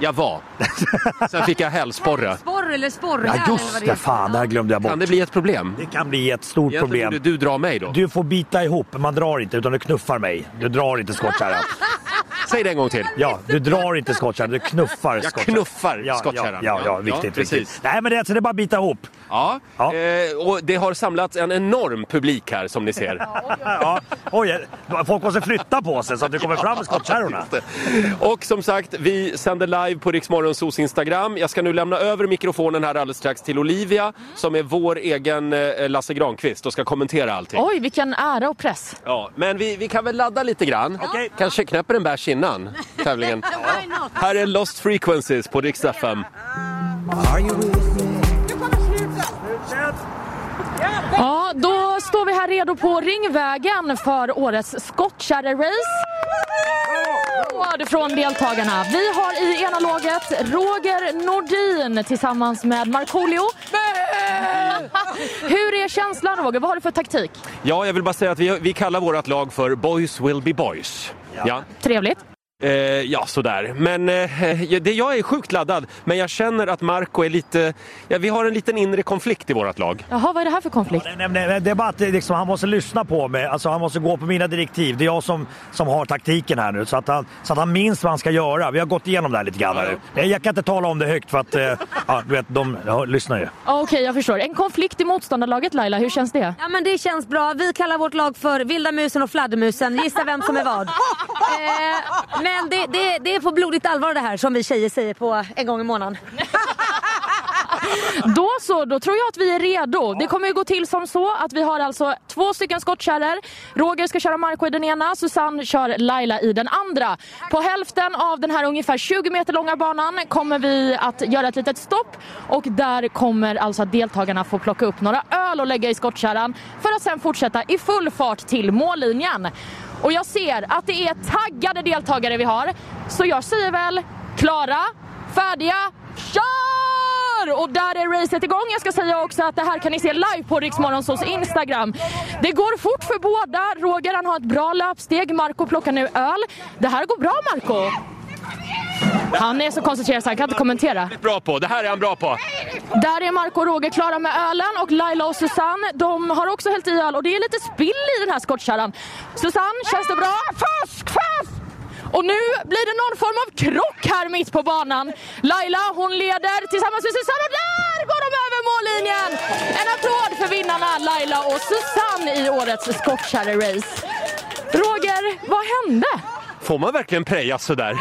S1: Jag var. Sen fick jag hälsporre.
S13: Sporr eller sporre?
S9: Ja, just det. Fan, det här glömde jag bort. Kan det
S1: bli ett problem?
S9: Det kan bli ett stort problem.
S1: borde du dra mig då.
S9: Du får bita ihop. Man drar inte, utan du knuffar mig. Du drar inte skottkärran.
S1: Säg det en gång till.
S9: Ja, du drar inte skottkärran, du knuffar
S1: Jag
S9: skottkärran.
S1: knuffar
S9: ja,
S1: skottkärran.
S9: Ja, ja, ja,
S1: Ja,
S9: viktigt.
S1: precis.
S9: viktigt. Nej, men det, så det är bara att bita ihop.
S1: Ja, Eh, och det har samlats en enorm publik här som ni ser.
S9: Ja, oj, folk måste flytta på sig så att det kommer fram skottkärrorna.
S1: Och som sagt, vi sänder live på Riksmorgonsos Instagram. Jag ska nu lämna över mikrofonen här alldeles strax till Olivia som är vår egen eh, Lasse Granqvist och ska kommentera allting.
S4: Oj, vilken ära och press.
S1: Ja, men vi, vi kan väl ladda lite grann. Kanske knäpper en bärs innan tävlingen. Här är Lost Frequencies på Rix FM.
S4: Ja, då står vi här redo på Ringvägen för årets skottkärrerace. Råd från deltagarna. Vi har i ena laget Roger Nordin tillsammans med Markoolio. Hur är känslan Roger? Vad har du för taktik?
S1: Ja, jag vill bara säga att vi, vi kallar vårt lag för Boys Will Be Boys. Ja.
S4: Trevligt.
S1: Eh, ja, sådär. Men eh, det, jag är sjukt laddad, men jag känner att Marco är lite... Ja, vi har en liten inre konflikt i vårt lag.
S4: Jaha, vad är det här för konflikt?
S9: Nej, nej, nej, det är bara att det, liksom, han måste lyssna på mig, alltså, han måste gå på mina direktiv. Det är jag som, som har taktiken här nu så att, han, så att han minns vad han ska göra. Vi har gått igenom det här lite grann. här nu. Jag kan inte tala om det högt för att eh, ja, du vet, de ja, lyssnar ju.
S4: Ja, Okej, jag förstår. En konflikt i motståndarlaget Laila, hur känns det?
S2: Ja men det känns bra. Vi kallar vårt lag för Vilda musen och Fladdermusen. Gissa vem som är vad. Eh, men det, det, det är på blodigt allvar det här som vi tjejer säger på en gång i månaden.
S4: Då så, då tror jag att vi är redo. Det kommer ju gå till som så att vi har alltså två stycken skottkärror. Roger ska köra Marco i den ena, Susanne kör Laila i den andra. På hälften av den här ungefär 20 meter långa banan kommer vi att göra ett litet stopp och där kommer alltså att deltagarna få plocka upp några öl och lägga i skottkärran för att sen fortsätta i full fart till mållinjen. Och jag ser att det är taggade deltagare vi har, så jag säger väl klara, färdiga, kör! kör! Och där är racet igång. Jag ska säga också att det här kan ni se live på Riksmorgonsos Instagram. Det går fort för båda. Roger han har ett bra löpsteg. Marco plockar nu öl. Det här går bra Marco. Han är så koncentrerad så han kan inte kommentera.
S1: Bra på, det här är han bra på.
S4: Där är Marco och Roger klara med ölen och Laila och Susanne de har också hällt i öl och det är lite spill i den här skottkärran. Susanne, känns det bra? Fusk, fusk! Och nu blir det någon form av krock här mitt på banan. Laila hon leder tillsammans med Susanne och där går de över mållinjen! En applåd för vinnarna Laila och Susanne i årets skottkärrerace. Roger, vad hände?
S1: Får man verkligen prejas sådär?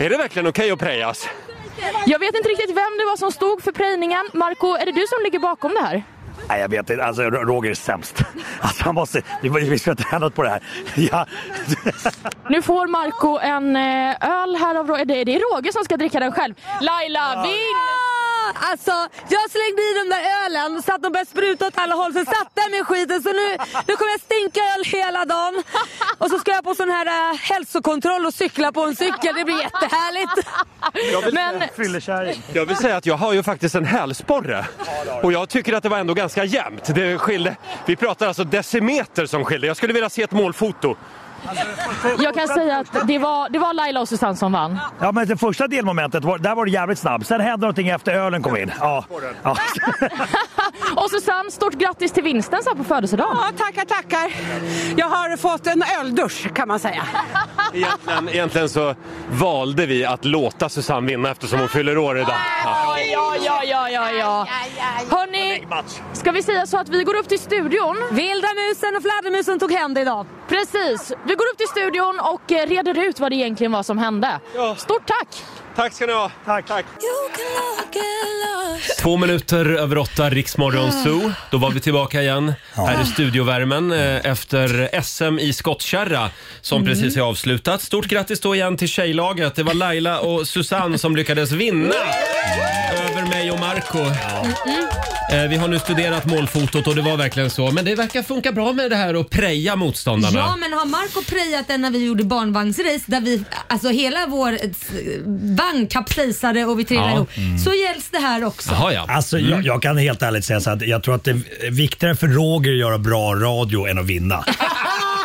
S1: Är det verkligen okej att prejas?
S4: Jag vet inte riktigt vem det var som stod för prejningen. Marco, är det du som ligger bakom det här?
S9: Nej, jag vet inte. Alltså, Ro- Roger är sämst. Alltså, han måste... Vi, vi ska ha tränat på det här. Ja.
S4: Nu får Marco en eh, öl här av Roger. Det är- det är Roger som ska dricka den själv. Laila, vinn!
S2: Alltså, jag slängde i den där ölen så att de började spruta åt alla håll. Sen satt jag med skiten så nu, nu kommer jag stinka öl hela dagen. Och så ska jag på sån här eh, hälsokontroll och cykla på en cykel. Det blir jättehärligt.
S9: Fyllekärring.
S1: Jag vill säga att jag har ju faktiskt en hälsporre. Och jag tycker att det var ändå ganska jämnt. Det skilde, vi pratar alltså decimeter som skilde. Jag skulle vilja se ett målfoto.
S4: Jag kan säga att det var, det var Laila och Susanne som vann.
S9: Ja, men det första delmomentet, var, där var du jävligt snabb. Sen hände någonting efter ölen kom in. Ja. Ja.
S11: Och Susanne, stort grattis till vinsten så här på födelsedagen. Ja,
S8: tackar, tackar. Jag har fått en öldusch kan man säga.
S14: Egentligen, egentligen så valde vi att låta Susanne vinna eftersom hon fyller år idag. Ja.
S11: Ja, ja, ja, ja, ja. Hörni, ska vi säga så att vi går upp till studion?
S15: Vilda musen och fladdermusen tog hem det idag.
S11: Precis. Vi går upp till studion och eh, reder ut vad det egentligen var som hände. Stort tack!
S14: Tack ska ni ha.
S16: Tack. Tack.
S1: Två minuter över åtta, Riksmorgon
S11: Ah.
S1: Zoo. Då var vi tillbaka igen här i studiovärmen eh, efter SM i skottkärra som
S17: Mm.
S1: precis är avslutat. Stort grattis då igen till tjejlaget. Det var Laila och Susanne som lyckades vinna över mig och Marco. Eh, Vi har nu studerat målfotot och det var verkligen så. Men det verkar funka bra med det här att preja motståndarna.
S2: Ja, men har Marco prejat den när vi gjorde barnvagnsrace där vi, alltså hela vår eh, vagn kapsejsade och vi trillade
S9: Ja.
S2: ihop.
S9: Mm.
S2: Så gälls det här också.
S9: Alltså,
S1: Mm.
S9: jag, jag kan helt ärligt säga så att jag tror att det är viktigare för Roger att göra bra radio än att vinna.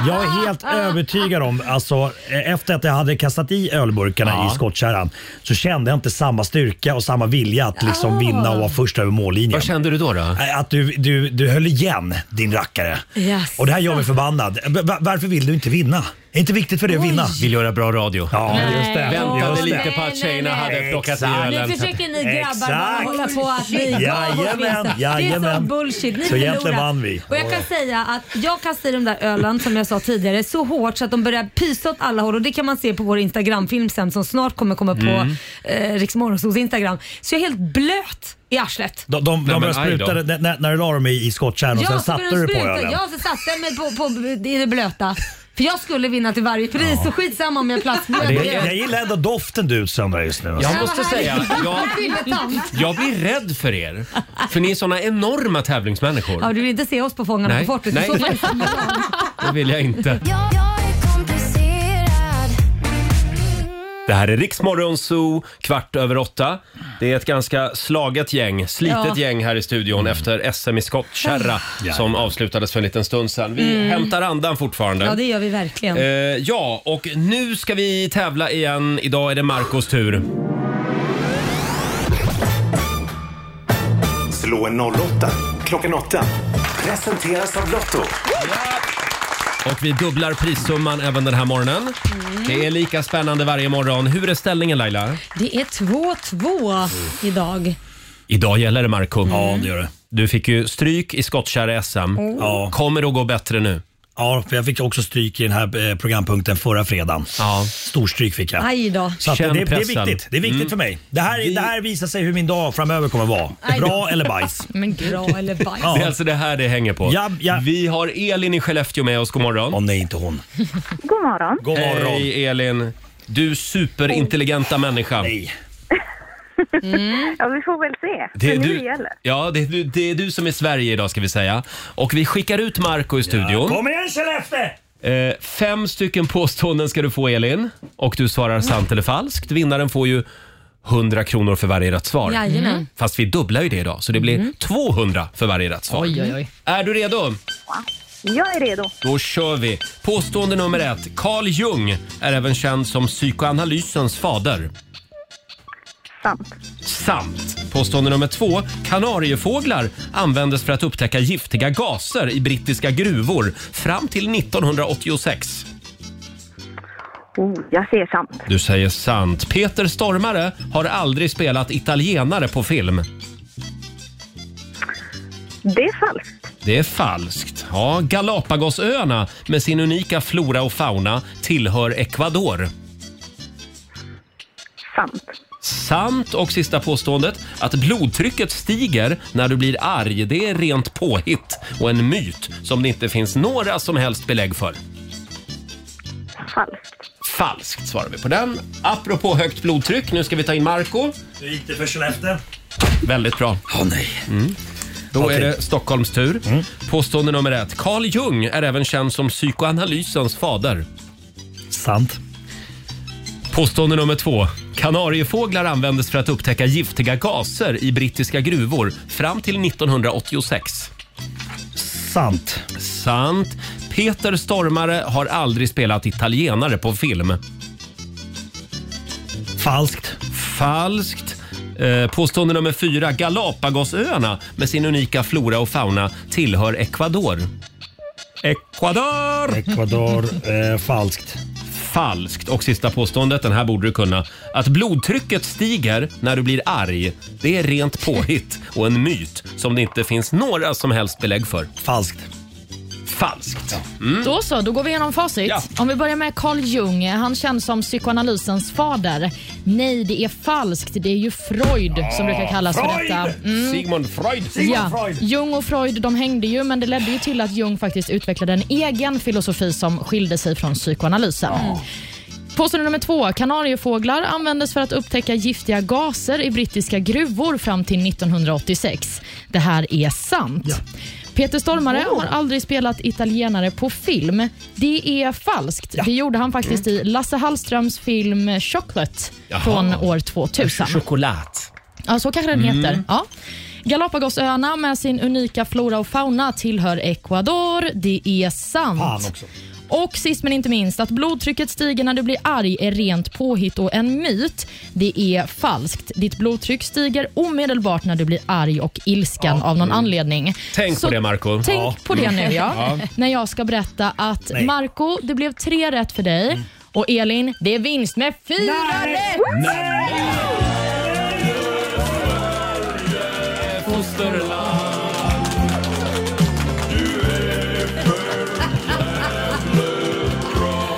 S9: Jag är helt övertygad om, alltså, eh, efter att jag hade kastat i ölburkarna
S16: Ja.
S9: i skottkärran så kände jag inte samma styrka och samma vilja att liksom vinna och vara först över mållinjen. Vad
S1: kände du då?
S9: Att du, du, du höll igen din rackare.
S2: Yes.
S9: Och det här gör mig förbannad. B- va- varför vill du inte vinna? Är inte viktigt för dig att vinna?
S1: Vill göra bra radio.
S9: Ja,
S1: Nej.
S9: just det.
S1: Väntade
S9: just det.
S1: lite på att tjejna hade plockat i
S9: Exakt.
S1: ölen.
S2: Nu försöker ni grabbar bara
S9: Exakt.
S2: hålla på att vi gav oss
S9: Jajamän,
S2: vinsten. Det är så
S9: jajamän.
S2: bullshit. Ni
S9: Så egentligen
S2: förlorar.
S9: vann vi.
S2: Och jag kan säga att jag kastade i de där ölen som jag sa tidigare så hårt så att de börjar pysa åt alla håll och det kan man se på vår Instagramfilm sen som snart kommer komma på
S9: Mm.
S2: eh, Rix Morgonzoos Instagram. Så jag är helt blöt i arslet.
S9: De, de,
S1: Nej,
S9: de
S1: men
S9: började
S1: aj då.
S9: spruta när- när, när du la dem i, i skottkärran och sen
S2: så
S9: satte
S2: började
S9: du
S2: de
S9: på
S2: spruta.
S9: ölen.
S2: Ja, så satte jag mig på, på, i det blöta. För jag skulle vinna till varje pris så skitsamma om jag plastblöt.
S9: Det, jag, jag gillar ändå doften du utsöndrar just nu.
S1: Jag måste säga, jag,
S2: jag...
S1: jag blir rädd för er. För ni är såna enorma tävlingsmänniskor.
S2: Ja, du vill inte se oss på Fångarna
S1: Nej,
S2: på fortet?
S1: nej.
S2: I så fall är det samma sak.
S1: Det vill jag inte. Det här är Riksmorgon Zoo, kvart över åtta. Det är ett ganska slaget gäng, slitet
S2: Ja. Mm.
S1: gäng här i studion efter SM i skottkärra som avslutades för en liten stund sedan. Vi
S2: Mm.
S1: hämtar andan fortfarande.
S2: Ja, det gör vi verkligen.
S1: Eh, ja, och nu ska vi tävla igen. Idag är det Marcos tur.
S5: Slå en 08 klockan 8. Presenteras av Lotto.
S1: Och vi dubblar prissumman även den här morgonen. Det är lika spännande varje morgon. Hur är ställningen Laila?
S2: Det är 2-2 idag.
S1: Idag gäller det Marco. Ja, det gör det. Du fick ju stryk i skottkärra-SM.
S2: Oh. Ja.
S1: Kommer det att gå bättre nu?
S9: Ja, för jag fick också stryk i den här eh, programpunkten förra fredagen. Storstryk fick jag.
S2: Aj då.
S9: Så att det,
S2: Känn
S9: det är
S2: pressen.
S9: viktigt. Det är viktigt
S2: Mm.
S9: för mig. Det här, det här visar sig hur min dag framöver kommer vara.
S2: Aj då.
S9: Bra eller bajs.
S2: Men gud. Bra eller bajs.
S1: Det är alltså det här det hänger på. Vi har Elin i Skellefteå med oss. God morgon. Åh
S9: nej, inte hon.
S7: God morgon.
S1: God morgon. Hej Elin. Du superintelligenta människa. Nej.
S2: Mm.
S7: Ja, vi får väl se.
S1: Det är,
S7: Men
S1: du,
S7: det gäller.
S1: ja, det, är du, det är du som är Sverige idag ska vi säga. Och vi skickar ut Marco i studion.
S9: Kom igen Skellefteå!
S1: Eh, fem stycken påståenden ska du få Elin och du
S2: Mm.
S1: svarar sant eller falskt. Vinnaren får ju 100 kronor för varje rätt svar.
S2: Jajamän. Mm.
S1: Fast vi dubblar ju det idag så det blir 200 för varje rätt svar.
S2: Oj, oj, oj.
S1: Är du redo?
S7: Jag är redo.
S1: Då kör vi. Påstående nummer ett. Carl Jung är även känd som psykoanalysens fader.
S7: Sant.
S1: Sant. Påstående nummer två. Kanariefåglar användes för att upptäcka giftiga gaser i brittiska gruvor fram till 1986.
S7: Oh, jag ser sant.
S1: Du säger sant. Peter Stormare har aldrig spelat italienare på film.
S7: Det är falskt.
S1: Det är falskt. Ja, Galapagosöarna med sin unika flora och fauna tillhör Ecuador.
S7: Sant.
S1: Sant och sista påståendet, att blodtrycket stiger när du blir arg, det är rent påhitt och en myt som det inte finns några som helst belägg för.
S7: Falskt.
S1: Falskt svarar vi på den. Apropå högt blodtryck, nu ska vi ta in Marco.
S9: Hur gick det för Skellefteå?
S1: Väldigt bra.
S9: Åh nej.
S1: Mm. Då
S9: Okej. Mm.
S1: är det Stockholms tur. Påstående nummer ett. Carl Jung är även känd som psykoanalysens fader.
S9: Sant.
S1: Påstående nummer två. Kanariefåglar användes för att upptäcka giftiga gaser i brittiska gruvor fram till 1986.
S9: Sant.
S1: Sant. Peter Stormare har aldrig spelat italienare på film.
S9: Falskt.
S1: Falskt. Eh, Eh, Påstående nummer fyra. Galapagosöarna med sin unika flora och fauna tillhör Ecuador. Ecuador!
S9: Ecuador. Eh, falskt.
S1: Falskt. Och sista påståendet, den här borde du kunna. Att blodtrycket stiger när du blir arg, det är rent påhitt och en myt som det inte finns några som helst belägg för.
S9: Falskt.
S1: Falskt. Mm.
S4: Då så, då går vi igenom facit. Om vi börjar med Carl Jung, han känns som psykoanalysens fader. Nej, det är falskt. Det är ju Freud som brukar kallas för
S1: Freud!
S4: detta. Mm.
S1: Sigmund Freud.
S4: ja. Jung och Freud de hängde ju, men det ledde ju till att Jung faktiskt utvecklade en egen filosofi som skilde sig från psykoanalysen. Påstående nummer två. Kanariefåglar användes för att upptäcka giftiga gaser i brittiska gruvor fram till 1986. Det här är sant. Peter Stormare har aldrig spelat italienare på film. Det är falskt. Det gjorde han faktiskt i Lasse Hallströms film Chocolate
S1: Jaha. Alltså,
S4: från år 2000.
S1: Choklad.
S4: Ja, så kanske den
S1: Mm.
S4: heter. Ja. Galapagosöarna med sin unika flora och fauna tillhör Ecuador. Det är sant.
S9: Fan också.
S4: Och sist men inte minst, att blodtrycket stiger när du blir arg är rent påhitt och en myt. Det är falskt. Ditt blodtryck stiger omedelbart när du blir arg och ilsken av någon anledning.
S1: Mm. Tänk
S4: Så
S1: på det, Marco.
S4: Tänk
S1: Ja.
S4: på det
S1: Mm.
S4: nu, ja.
S1: Ja.
S4: När jag ska berätta att
S1: Nej. Mm.
S4: Marco, det blev tre rätt för dig. Och Elin, det är vinst med fyra rätt!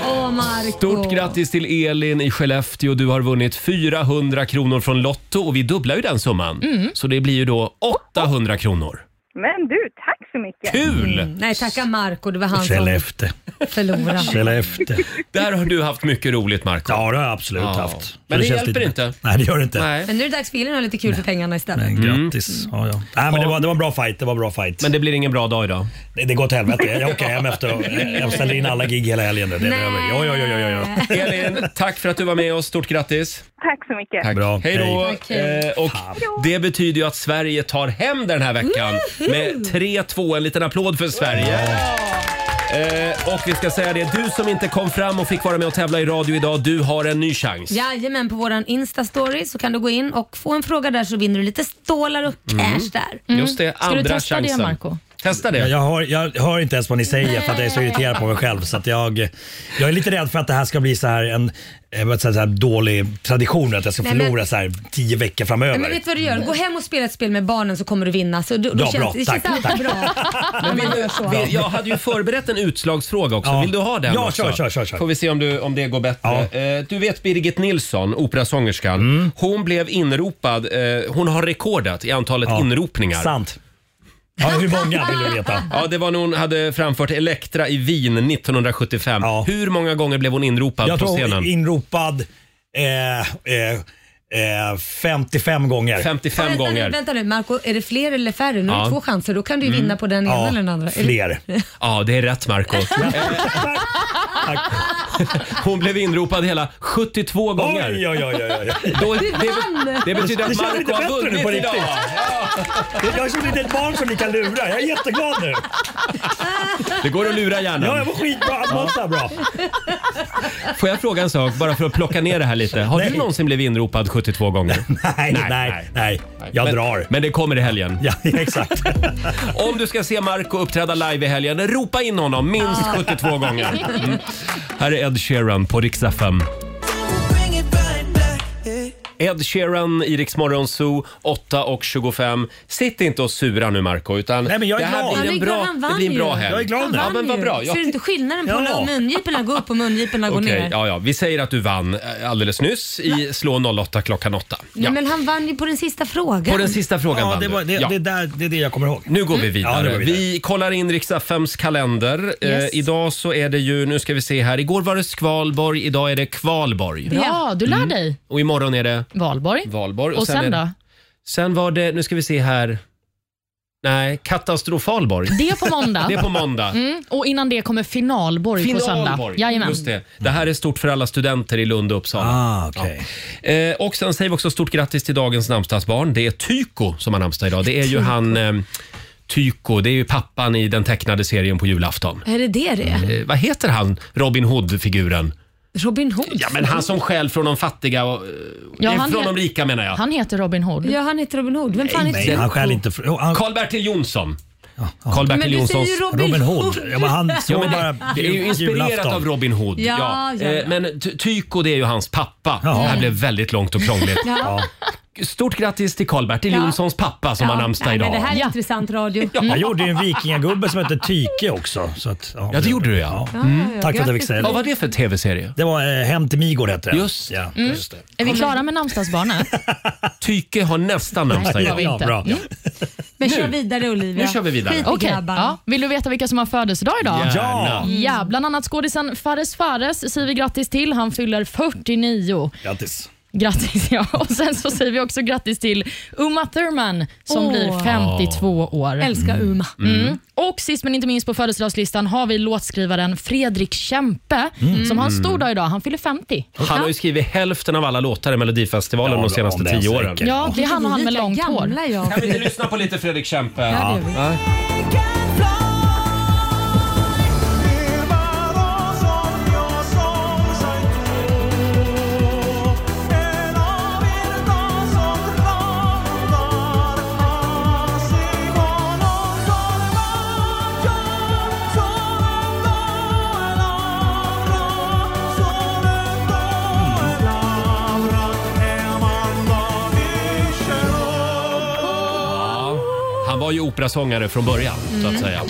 S2: Åh, Marco.
S1: Stort grattis till Elin i Skellefteå. Du har vunnit 400 kronor från Lotto och vi dubblar ju den summan.
S2: Mm.
S1: Så det blir ju då 800 kronor.
S2: Men du, tack så mycket.
S1: Kul!
S2: Mm. Nej, tacka Marco. Det var han
S1: Skellefteå.
S2: som förlorade.
S9: Skellefteå.
S1: Där har du haft mycket roligt Marco. Ja,
S9: det har jag absolut haft.
S1: Men
S9: Det
S1: det,
S9: känns
S1: hjälper
S9: lite-
S1: inte.
S9: Nej, det gör det inte.
S1: Nej. Mm.
S2: Men nu är det dags för Elin att ha lite kul för pengarna istället.
S9: Grattis. Ja, ja. Nej, men det, var, det var en bra fight. Det var en bra fight. Men
S1: det blir ingen bra dag idag.
S9: Det, det går åt helvete. Jag åker hem efter Jag ställer in alla gig hela helgen. nu. Det är
S1: Nej.
S9: över. Ja, ja, ja, ja, ja.
S1: Elin, tack för att du var med oss. Stort grattis.
S7: Tack så mycket.
S1: Bra. Hej då.
S7: Tack, hej.
S1: Eh, och det betyder ju att Sverige tar hem den här veckan med 3-2. En liten applåd för Sverige. Eh, och vi ska säga det, du som inte kom fram och fick vara med och tävla i radio idag, du har en ny chans.
S2: Jajamän, på våran Insta-story så kan du gå in och få en fråga där så vinner du lite stålar och cash
S9: Mm.
S2: där.
S1: Just det, andra chansen. Testa det.
S9: Jag, jag, hör, jag hör inte ens vad ni säger för att jag är så irriterad på mig själv. Så att jag, jag är lite rädd för att det här ska bli så här en eh, vad ska jag säga, dålig tradition, att jag ska
S2: Nej,
S9: förlora
S2: men-
S9: så här tio veckor framöver.
S2: Nej, men vet du vad du gör? Gå hem och spela ett spel med barnen så kommer du vinna. Så då, då
S9: Ja,
S2: känns,
S9: bra.
S2: det
S9: Tack,
S2: känns alltid bra när man gör så.
S1: Vi- Jag hade ju förberett en utslagsfråga också.
S9: Ja.
S1: Vill du ha den
S9: Ja,
S1: också?
S9: kör, kör, kör, kör.
S1: Får vi se om, du, om det går bättre. Eh, Du vet Birgit Nilsson, operasångerskan.
S9: Mm.
S1: Hon blev inropad. eh, Hon har rekordat i antalet inropningar.
S9: Sant. Ja, hur många vill du veta?
S1: Ja, det var när hon hade framfört Elektra i Wien 1975. Hur många gånger blev hon inropad
S9: Jag
S1: på
S9: tror
S1: scenen?
S9: inropad eh, eh, eh, 55 gånger.
S1: 55
S2: Vänta nu, Vänta nu Marco, är det fler eller färre? Nu har
S1: Ja.
S2: du två chanser. Då kan du ju
S1: Mm.
S2: vinna på den ena eller den andra. Är det-
S1: Ja, det är rätt Marco Hon blev inropad hela 72 gånger.
S9: Oj, oj, oj, oj, oj.
S1: Då,
S9: Du
S1: det,
S9: vann!
S1: det betyder
S9: Det
S1: att
S9: känns
S1: Marco
S9: lite
S1: har
S9: bättre nu på
S1: vunnit idag.
S9: riktigt. Jag är som ett litet barn som ni kan lura. Jag är jätteglad nu.
S1: Det går att lura hjärnan.
S9: Ja, jag var skitbra. Allt var så här bra.
S1: Får jag fråga en sak bara för att plocka ner det här lite? Har du någonsin blivit inropad 72 gånger?
S9: Nej, nej, nej. Jag
S1: men,
S9: drar.
S1: Men det kommer i helgen.
S9: Ja, exakt.
S1: Om du ska se Marco uppträda live i helgen, ropa in honom minst
S5: Ja.
S1: 72 gånger. Mm. Här är Ed Sheeran på Rix FM. Ed Sheeran, Iriks Morgonzoo, 8.25. Sitt inte och sura nu Marco utan
S9: Nej, men jag är
S1: det här
S9: glad.
S1: blir
S2: Han
S1: en
S2: är glad,
S1: bra,
S2: han vann
S1: det blir en bra
S2: ju.
S1: helg.
S2: Han
S1: Ja,
S2: vann
S1: men vad
S2: ju.
S1: bra. Jag
S2: Ser du inte skillnaden på
S1: Ja.
S2: när mungiporna går upp och mungiporna går
S1: Okej,
S2: ner?
S1: ja, ja. Vi säger att du vann eh, alldeles nyss i Slå 08 klockan 8.
S2: Nej,
S1: Ja.
S2: Men han vann ju på den sista frågan.
S1: På den sista frågan
S9: Ja,
S1: vann
S9: det,
S1: du.
S9: var, det,
S1: Ja.
S9: det, där, det är det jag kommer ihåg.
S1: Nu
S4: Mm.
S1: går vi
S9: Ja,
S1: vidare.
S9: nu går vi
S1: vi, kollar in Riks-FMs kalender.
S4: Yes.
S1: Eh, idag så är det ju, nu ska vi se här, igår var det Skvalborg, idag är det Kvalborg.
S4: Bra, du lär
S1: Mm.
S4: dig.
S1: Och imorgon är det?
S4: Valborg.
S1: Valborg.
S4: Och, sen
S1: är,
S4: då?
S1: Sen var det, nu ska vi se här, nej, Katastrofalborg.
S4: Det är på måndag.
S1: det är på måndag.
S4: Mm. Och innan det kommer finalborg, på söndag.
S1: Finalborg.
S4: Jajamän.
S1: Just det. det här är stort för alla studenter i Lund och Uppsala. ja. eh, och sen säger vi också stort grattis till dagens namnsdagsbarn. Det är Tyko som har namnsdag idag. Det är ju
S2: Tyko.
S1: han eh, Tyko, det är ju pappan i den tecknade serien på julafton.
S2: Är det det det är?
S1: Eh, vad heter han, Robin Hood-figuren?
S2: Robin Hood?
S1: Ja, men han som stjäl från de fattiga och...
S2: Ja,
S1: eh,
S2: han
S1: från
S2: he-
S1: de rika menar jag.
S4: Han heter Robin Hood.
S2: Ja, han heter Robin Hood. Vem fan heter
S1: Den-
S2: Robin Hood?
S1: Karl-Bertil Jonsson. Karl-Bertil
S2: Men du säger
S1: Jonssons...
S2: ju Robin Robin Hood. Hood. Ja, men han såg
S1: men det,
S2: bara
S1: det är ju
S2: jul-
S1: inspirerat
S2: julafton.
S1: av Robin Hood.
S2: Ja, ja,
S1: Eh,
S2: ja.
S1: Men Ty- Tyko det är ju hans pappa.
S2: Ja.
S1: Det här blev väldigt långt och krångligt.
S2: Ja.
S1: Stort grattis till Karl-Bertil
S2: Ja.
S1: Jonssons pappa som har namnsdag
S2: nej,
S1: idag.
S2: Men det här är intressant radio.
S9: Jag gjorde ju en vikingagubbe som hette Tyke också. Så att, ja,
S1: det gjorde du ja.
S2: Ja,
S9: Mm. Tack
S2: ja,
S9: för att jag fick
S2: grattis.
S9: säga det.
S1: Vad var det för tv-serie?
S9: Det var eh, Hem till Migård hette den.
S1: Just
S9: ja.
S4: Mm. Är vi klara med namnsdagsbarnen?
S1: Tyke har nästan
S4: Nej,
S1: namnsdag
S4: det har
S1: idag.
S4: vi inte. Mm.
S2: Men
S1: Nu.
S2: kör vidare Olivia.
S1: Nu kör vi vidare.
S2: Skit i
S4: Okej,
S2: grabbarna.
S4: ja. Vill du veta vilka som har födelsedag idag?
S1: Gärna.
S4: ja! Bland annat skådisen Fares Fares säger vi grattis till. Han fyller 49.
S9: Grattis.
S4: Grattis ja. Och sen så säger vi också grattis till Uma Thurman som
S2: Åh.
S4: blir 52 år.
S2: Älskar Uma.
S4: Mm. Och sist men inte minst på födelsedagslistan har vi låtskrivaren Fredrik Kempe
S1: Mm.
S4: som har en stor
S1: Mm.
S4: dag idag. Han fyller 50.
S1: Han har ju skrivit hälften av alla låtar i Melodifestivalen de senaste
S9: om det
S1: tio
S9: ens
S1: åren.
S9: räcker.
S4: Ja, det är han och han med långt hår.
S1: Kan vi inte lyssna på lite Fredrik Kempe?
S4: Ja,
S2: det
S1: Ja. Ja, Han var ju operasångare från början, så att
S9: Mm.
S1: säga.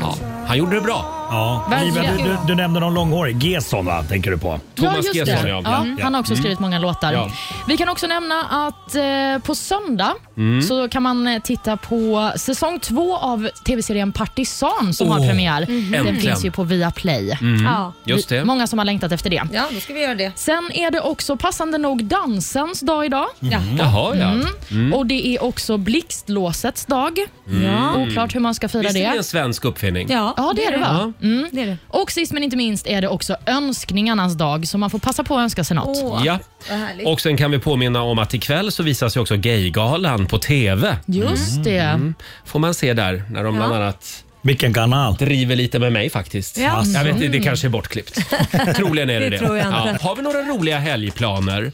S1: Ja, han gjorde det bra.
S9: Ja.
S4: Verkligen.
S9: Liva, du, du, du nämnde någon långhårig. Gesson va, tänker du på?
S4: ja, just det. Ja, Han har också
S1: Mm.
S4: skrivit många låtar.
S9: Ja.
S4: Vi kan också nämna att eh, på söndag
S9: Mm.
S4: så kan man eh, titta på säsong två av tv-serien Partisan som har
S1: Åh,
S4: premiär.
S1: mhm.
S4: Den
S1: äntligen.
S4: finns ju på Viaplay.
S1: Mm, Ja. just det.
S4: Vi- Många som har längtat efter det.
S2: Ja, då ska vi göra det.
S4: Sen är det också passande nog dansens dag idag.
S1: Mm. Jaha, ja.
S4: Mm.
S1: Mm.
S4: Och det är också blixtlåsets dag.
S1: Mm. Ja.
S4: Oklart hur man ska fira
S1: Visst är
S4: det.
S1: det en svensk uppfinning?
S4: Ja, det är det, va? Mm.
S2: Det är det.
S4: Och sist men inte minst är det också önskningarnas dag, så man får passa på att önska sig något.
S1: Ja.
S2: Vad härligt.
S1: Och sen kan vi påminna om att ikväll så visas ju också Gaygalan på TV.
S4: Just det.
S1: Mm. Får man se där när de bland
S4: Ja.
S1: annat Vilken kanal? Driver lite med mig faktiskt.
S4: Ja.
S1: Jag vet inte, det
S4: Mm.
S1: kanske är bortklippt. Troligen är det det.
S2: Det tror jag inte.
S1: Har vi några roliga helgplaner?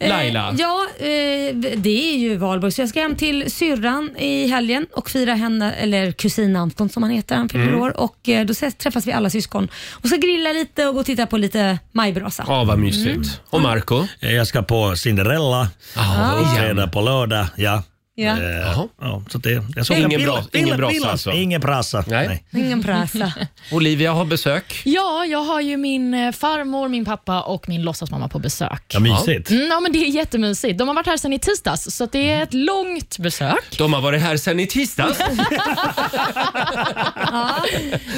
S1: Laila?
S2: Eh, ja, eh, det är ju valborg så jag ska hem till syrran i helgen och fira henne, eller kusin Anton som han heter, han fyller
S1: Mm.
S2: år och eh, då ses- träffas vi alla syskon och ska grilla lite och gå och titta på lite majbrasa. Mm.
S1: Ja, vad mysigt.
S4: Mm.
S1: Och Marco?
S9: Eh, Jag ska på Cinderella.
S2: Ah.
S9: Uppträda på lördag. Ja.
S2: Ja.
S9: Eh,
S2: Jaha.
S9: ja, så det, jag
S1: Ingen
S9: Villa-
S1: bra-
S9: Villa-
S1: ingen brasa
S9: Villa-
S1: alltså?
S9: Ingen brasa. Nej.
S2: Ingen prasa.
S1: Olivia har besök.
S4: Ja, jag har ju min eh, farmor, min pappa och min låtsasmamma på besök.
S1: Ja, mysigt.
S4: Mm, ja, men det är jättemysigt. De har varit här sedan i tisdags, så att det är ett långt besök.
S1: De har varit här sen i tisdags.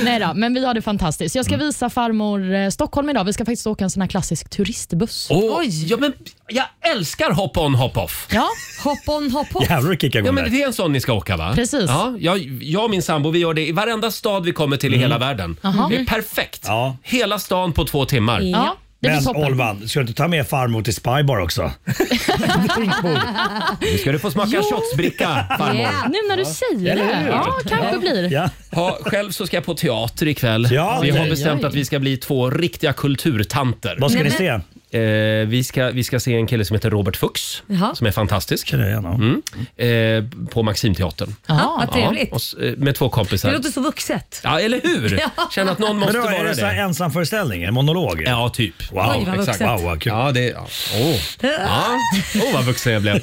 S4: Nej då, men vi har det fantastiskt. Jag ska visa farmor eh, Stockholm idag. Vi ska faktiskt åka en sån här klassisk turistbuss.
S1: Och, ja, men jag älskar hop-on hop-off.
S4: Ja,
S2: hop-on hop-off.
S1: Jävlar vilka kickar ja, men Det är en sån ni ska åka va?
S4: Precis.
S1: Ja, jag, jag och min sambo vi gör det i varenda stad vi kommer
S9: Mm.
S1: till i hela världen.
S4: Aha.
S1: Det
S2: Mm.
S1: är perfekt. Hela stan på två timmar.
S4: Ja, det blir
S9: Men
S4: toppen.
S9: Olvan, ska du inte ta med farmor till Spybar också?
S1: Nu ska du få smaka shotsbricka farmor.
S4: Ja, Nu när du säger
S1: Eller
S4: det.
S1: hur?
S4: Ja, kanske
S1: Ja.
S4: blir.
S1: Ha, själv så ska jag på teater ikväll.
S9: Ja,
S1: vi har
S9: okej.
S1: bestämt
S9: Oj.
S1: att vi ska bli två riktiga kulturtanter.
S9: Vad ska Nej, ni men-
S1: Eh, vi, ska, vi ska se en kille som heter Robert Fuchs
S2: Jaha.
S1: som är fantastisk. Mm. Eh, på Maximteatern.
S2: Ja, vad trevligt.
S1: och s- eh, med två kompisar.
S2: Det låter så vuxet.
S1: Ja, eller hur?
S2: Ja.
S1: Känner att någon måste
S9: Men då,
S1: vara
S9: är det. så här
S1: det.
S9: ensamföreställning? En monolog?
S1: Ja, typ.
S9: Wow,
S1: Oj, vad
S9: exakt.
S1: vuxet.
S9: Wow, vad kul.
S1: Ja, det, ja. Oh. Ja. Oh, vad vuxen jag blev.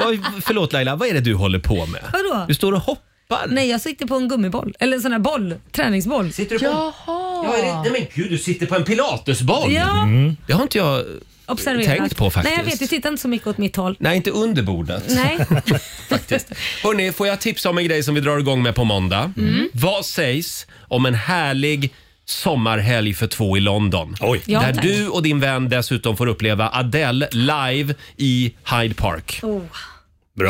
S1: Vad- Förlåt Laila, vad är det du håller på med?
S2: Vadå?
S1: Du står och hoppar.
S2: Nej, jag sitter på en gummiboll. Eller en sån här boll. Träningsboll.
S1: Sitter
S2: du på Jaha.
S1: Ja, är det, nej men gud, du sitter på en pilatesboll!
S2: Ja.
S1: Det har inte jag eh,
S2: Observerat.
S1: tänkt på faktiskt.
S2: Nej, jag vet. Du tittar inte så mycket åt mitt håll.
S1: Nej, inte under bordet.
S2: Nej.
S1: faktiskt. Hörrni, får jag tipsa om en grej som vi drar igång med på måndag?
S2: Mm.
S1: Vad sägs om en härlig sommarhelg för två i London?
S2: Ja,
S1: där
S2: tack.
S1: du och din vän dessutom får uppleva Adele live i Hyde Park.
S2: Oh.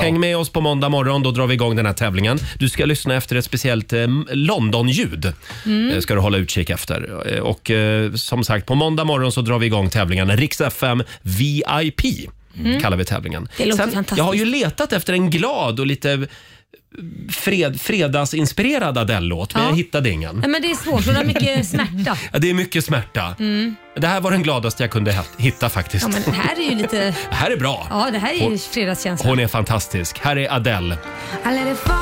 S1: Häng med oss på måndag morgon, då drar vi igång den här tävlingen. Du ska lyssna efter ett speciellt eh, London-ljud.
S17: Mm.
S1: Eh, ska du hålla utkik efter. Eh, Och eh, som sagt, på måndag morgon så drar vi igång tävlingen. Rix FM VIP
S2: Mm.
S1: kallar vi tävlingen.
S2: Det låter fantastiskt.
S1: Jag har ju letat efter en glad och lite eh, fred, fredagsinspirerad Adele-låt, men
S2: Ja.
S1: jag hittade ingen.
S2: Nej, men det är svårt för det är mycket smärta.
S1: Ja, det är mycket smärta.
S2: Mm.
S1: Det här var den gladaste jag kunde ha- hitta faktiskt.
S2: Ja, men det här är ju lite...
S1: Det här är bra.
S2: Ja, det här är ju
S1: Hon-
S2: fredagskänsla.
S1: Hon är fantastisk. Här är Adele.
S2: I let it fall.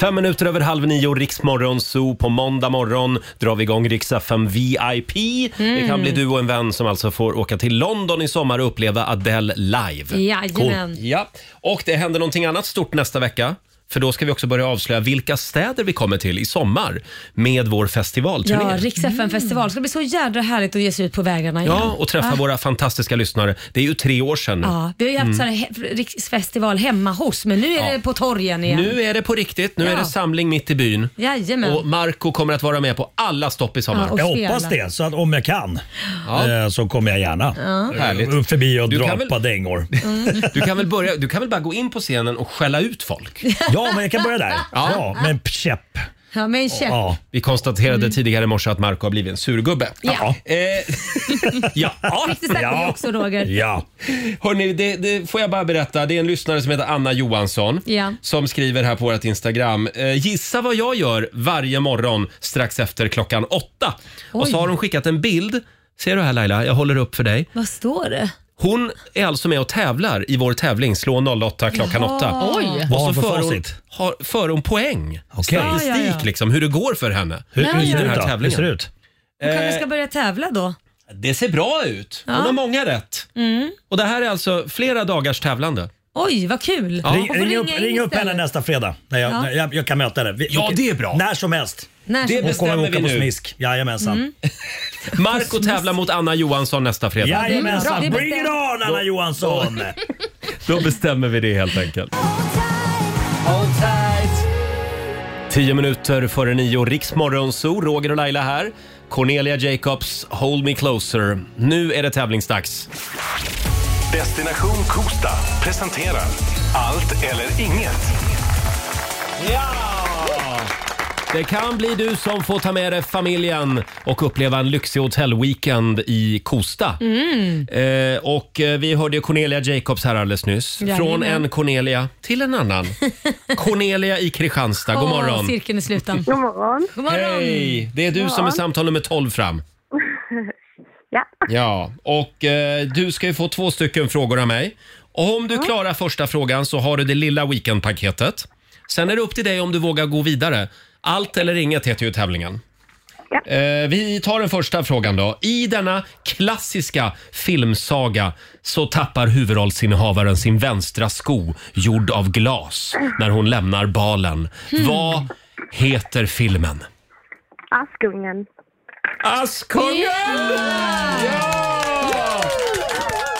S1: Fem minuter över halv nio, Riksmorgon Zoo. På måndag morgon drar vi igång Rix FM VIP.
S2: Mm.
S1: Det kan bli du och en vän som alltså får åka till London i sommar och uppleva Adele live.
S2: Jajamän.
S1: Cool. Ja. Och det händer någonting annat stort nästa vecka. För då ska vi också börja avslöja vilka städer vi kommer till i sommar med vår festivalturné.
S2: Ja, Rix FM-festival. Ska bli så jädra härligt att ge sig ut på vägarna igen.
S1: Mm. Ja, och träffa
S2: Va?
S1: våra fantastiska lyssnare. Det är ju tre år sedan nu.
S2: Ah. Ja, vi har ju haft
S1: Mm.
S2: så här he- riksfestival hemma hos, men nu är
S1: Ja.
S2: det på torgen igen.
S1: Nu är det på riktigt. Nu
S2: Ja.
S1: är det samling mitt i byn.
S2: Jajamän.
S1: Och Marco kommer att vara med på alla stopp i sommar.
S2: Ja, och Jag hoppas spela. det,
S1: så att om jag kan så kommer jag gärna.
S9: Eh,
S2: Ja.
S1: Härligt. Förbi och
S9: drapa
S1: dängor. Du, kan väl börja, du kan väl bara gå in på scenen och skälla ut folk?
S9: Ja, men jag kan börja där.
S1: Ja,
S9: Ja,
S1: med en käpp.
S2: Ja, med en käpp.
S1: Vi konstaterade tidigare i morse att Marco har blivit en surgubbe.
S2: Mm. Ja.
S1: Eh. Ja.
S2: Fick du sagt det också, Roger?
S1: Ja. Hörrni, det, det får jag bara berätta. Det är en lyssnare som heter Anna Johansson
S2: Ja.
S1: som skriver här på vårt Instagram. Eh, gissa vad jag gör varje morgon strax efter klockan åtta. Och
S2: Oj.
S1: så har hon skickat en bild. Ser du här Laila? Jag håller upp för dig.
S2: Vad står det?
S1: Hon är alltså med och tävlar i vår tävling Slå 08 klockan
S2: Jaha.
S1: 8.
S2: Oj. Vad
S1: Och
S2: har
S1: så
S2: hon för
S1: för hon,
S2: facit?
S1: har, för hon poäng.
S2: Okej.
S1: Statistik
S2: Ja, ja, ja.
S1: liksom, hur det går för henne
S2: Hur- hur Ja,
S1: i
S2: ser det
S1: den
S2: ut
S1: här
S2: då? Hur
S1: tävlingen.
S2: ser det
S1: ut?
S2: Hon
S1: Eh.
S2: kanske ska börja tävla då.
S1: Det ser bra ut. Hon
S2: Ja.
S1: har många rätt.
S2: Mm.
S1: Och det här är alltså flera dagars tävlande.
S2: Oj, vad kul.
S1: Ja.
S2: Hon
S1: Ring-
S2: får
S1: ring
S2: ringa
S1: upp-
S2: in
S1: ring upp
S2: istället.
S1: henne
S9: Nästa fredag. Nej, jag,
S2: Ja.
S9: nej, jag, jag kan möta det. Vi,
S1: Ja, det är bra.
S9: När som helst.
S2: När som
S9: Hon
S2: helst.
S9: kommer
S1: bestämmer
S9: åka
S1: vi
S9: på
S1: nu.
S9: smisk. Jajamensan.
S1: Mm. Marco tävlar mot Anna Johansson nästa fredag.
S9: Jajamensan.
S2: Det är bra, det är
S9: Bring it
S2: bestämt.
S9: on Anna Johansson!
S1: Då bestämmer vi det helt enkelt. Tio minuter före nio, Riksmorgonzoo, Roger och Laila här. Cornelia Jacobs, Hold Me Closer. Nu är det tävlingsdags.
S6: Destination Kosta presenterar Allt eller inget.
S1: Det kan bli du som får ta med dig familjen och uppleva en lyxig hotellweekend i Kosta.
S2: Mm.
S1: Eh, och eh, vi hörde ju Cornelia Jacobs här alldeles nyss.
S2: Jajamän.
S1: Från en Cornelia till en annan. Cornelia i Kristianstad, god
S2: Åh,
S1: morgon.
S2: Cirkeln är sluten. God morgon. God morgon.
S1: Hej! Det är du som är samtal nummer 12 fram.
S17: ja.
S1: Ja, och eh, du ska ju få två stycken frågor av mig. Och om du klarar första frågan så har du det lilla weekendpaketet. Sen är det upp till dig om du vågar gå vidare. Allt eller inget heter ju tävlingen. Eh, vi tar den första frågan då. I denna klassiska filmsaga så tappar huvudrollsinnehavaren sin vänstra sko gjord av glas när hon lämnar balen.
S17: Hmm.
S1: Vad heter filmen?
S17: Askungen.
S1: Askungen!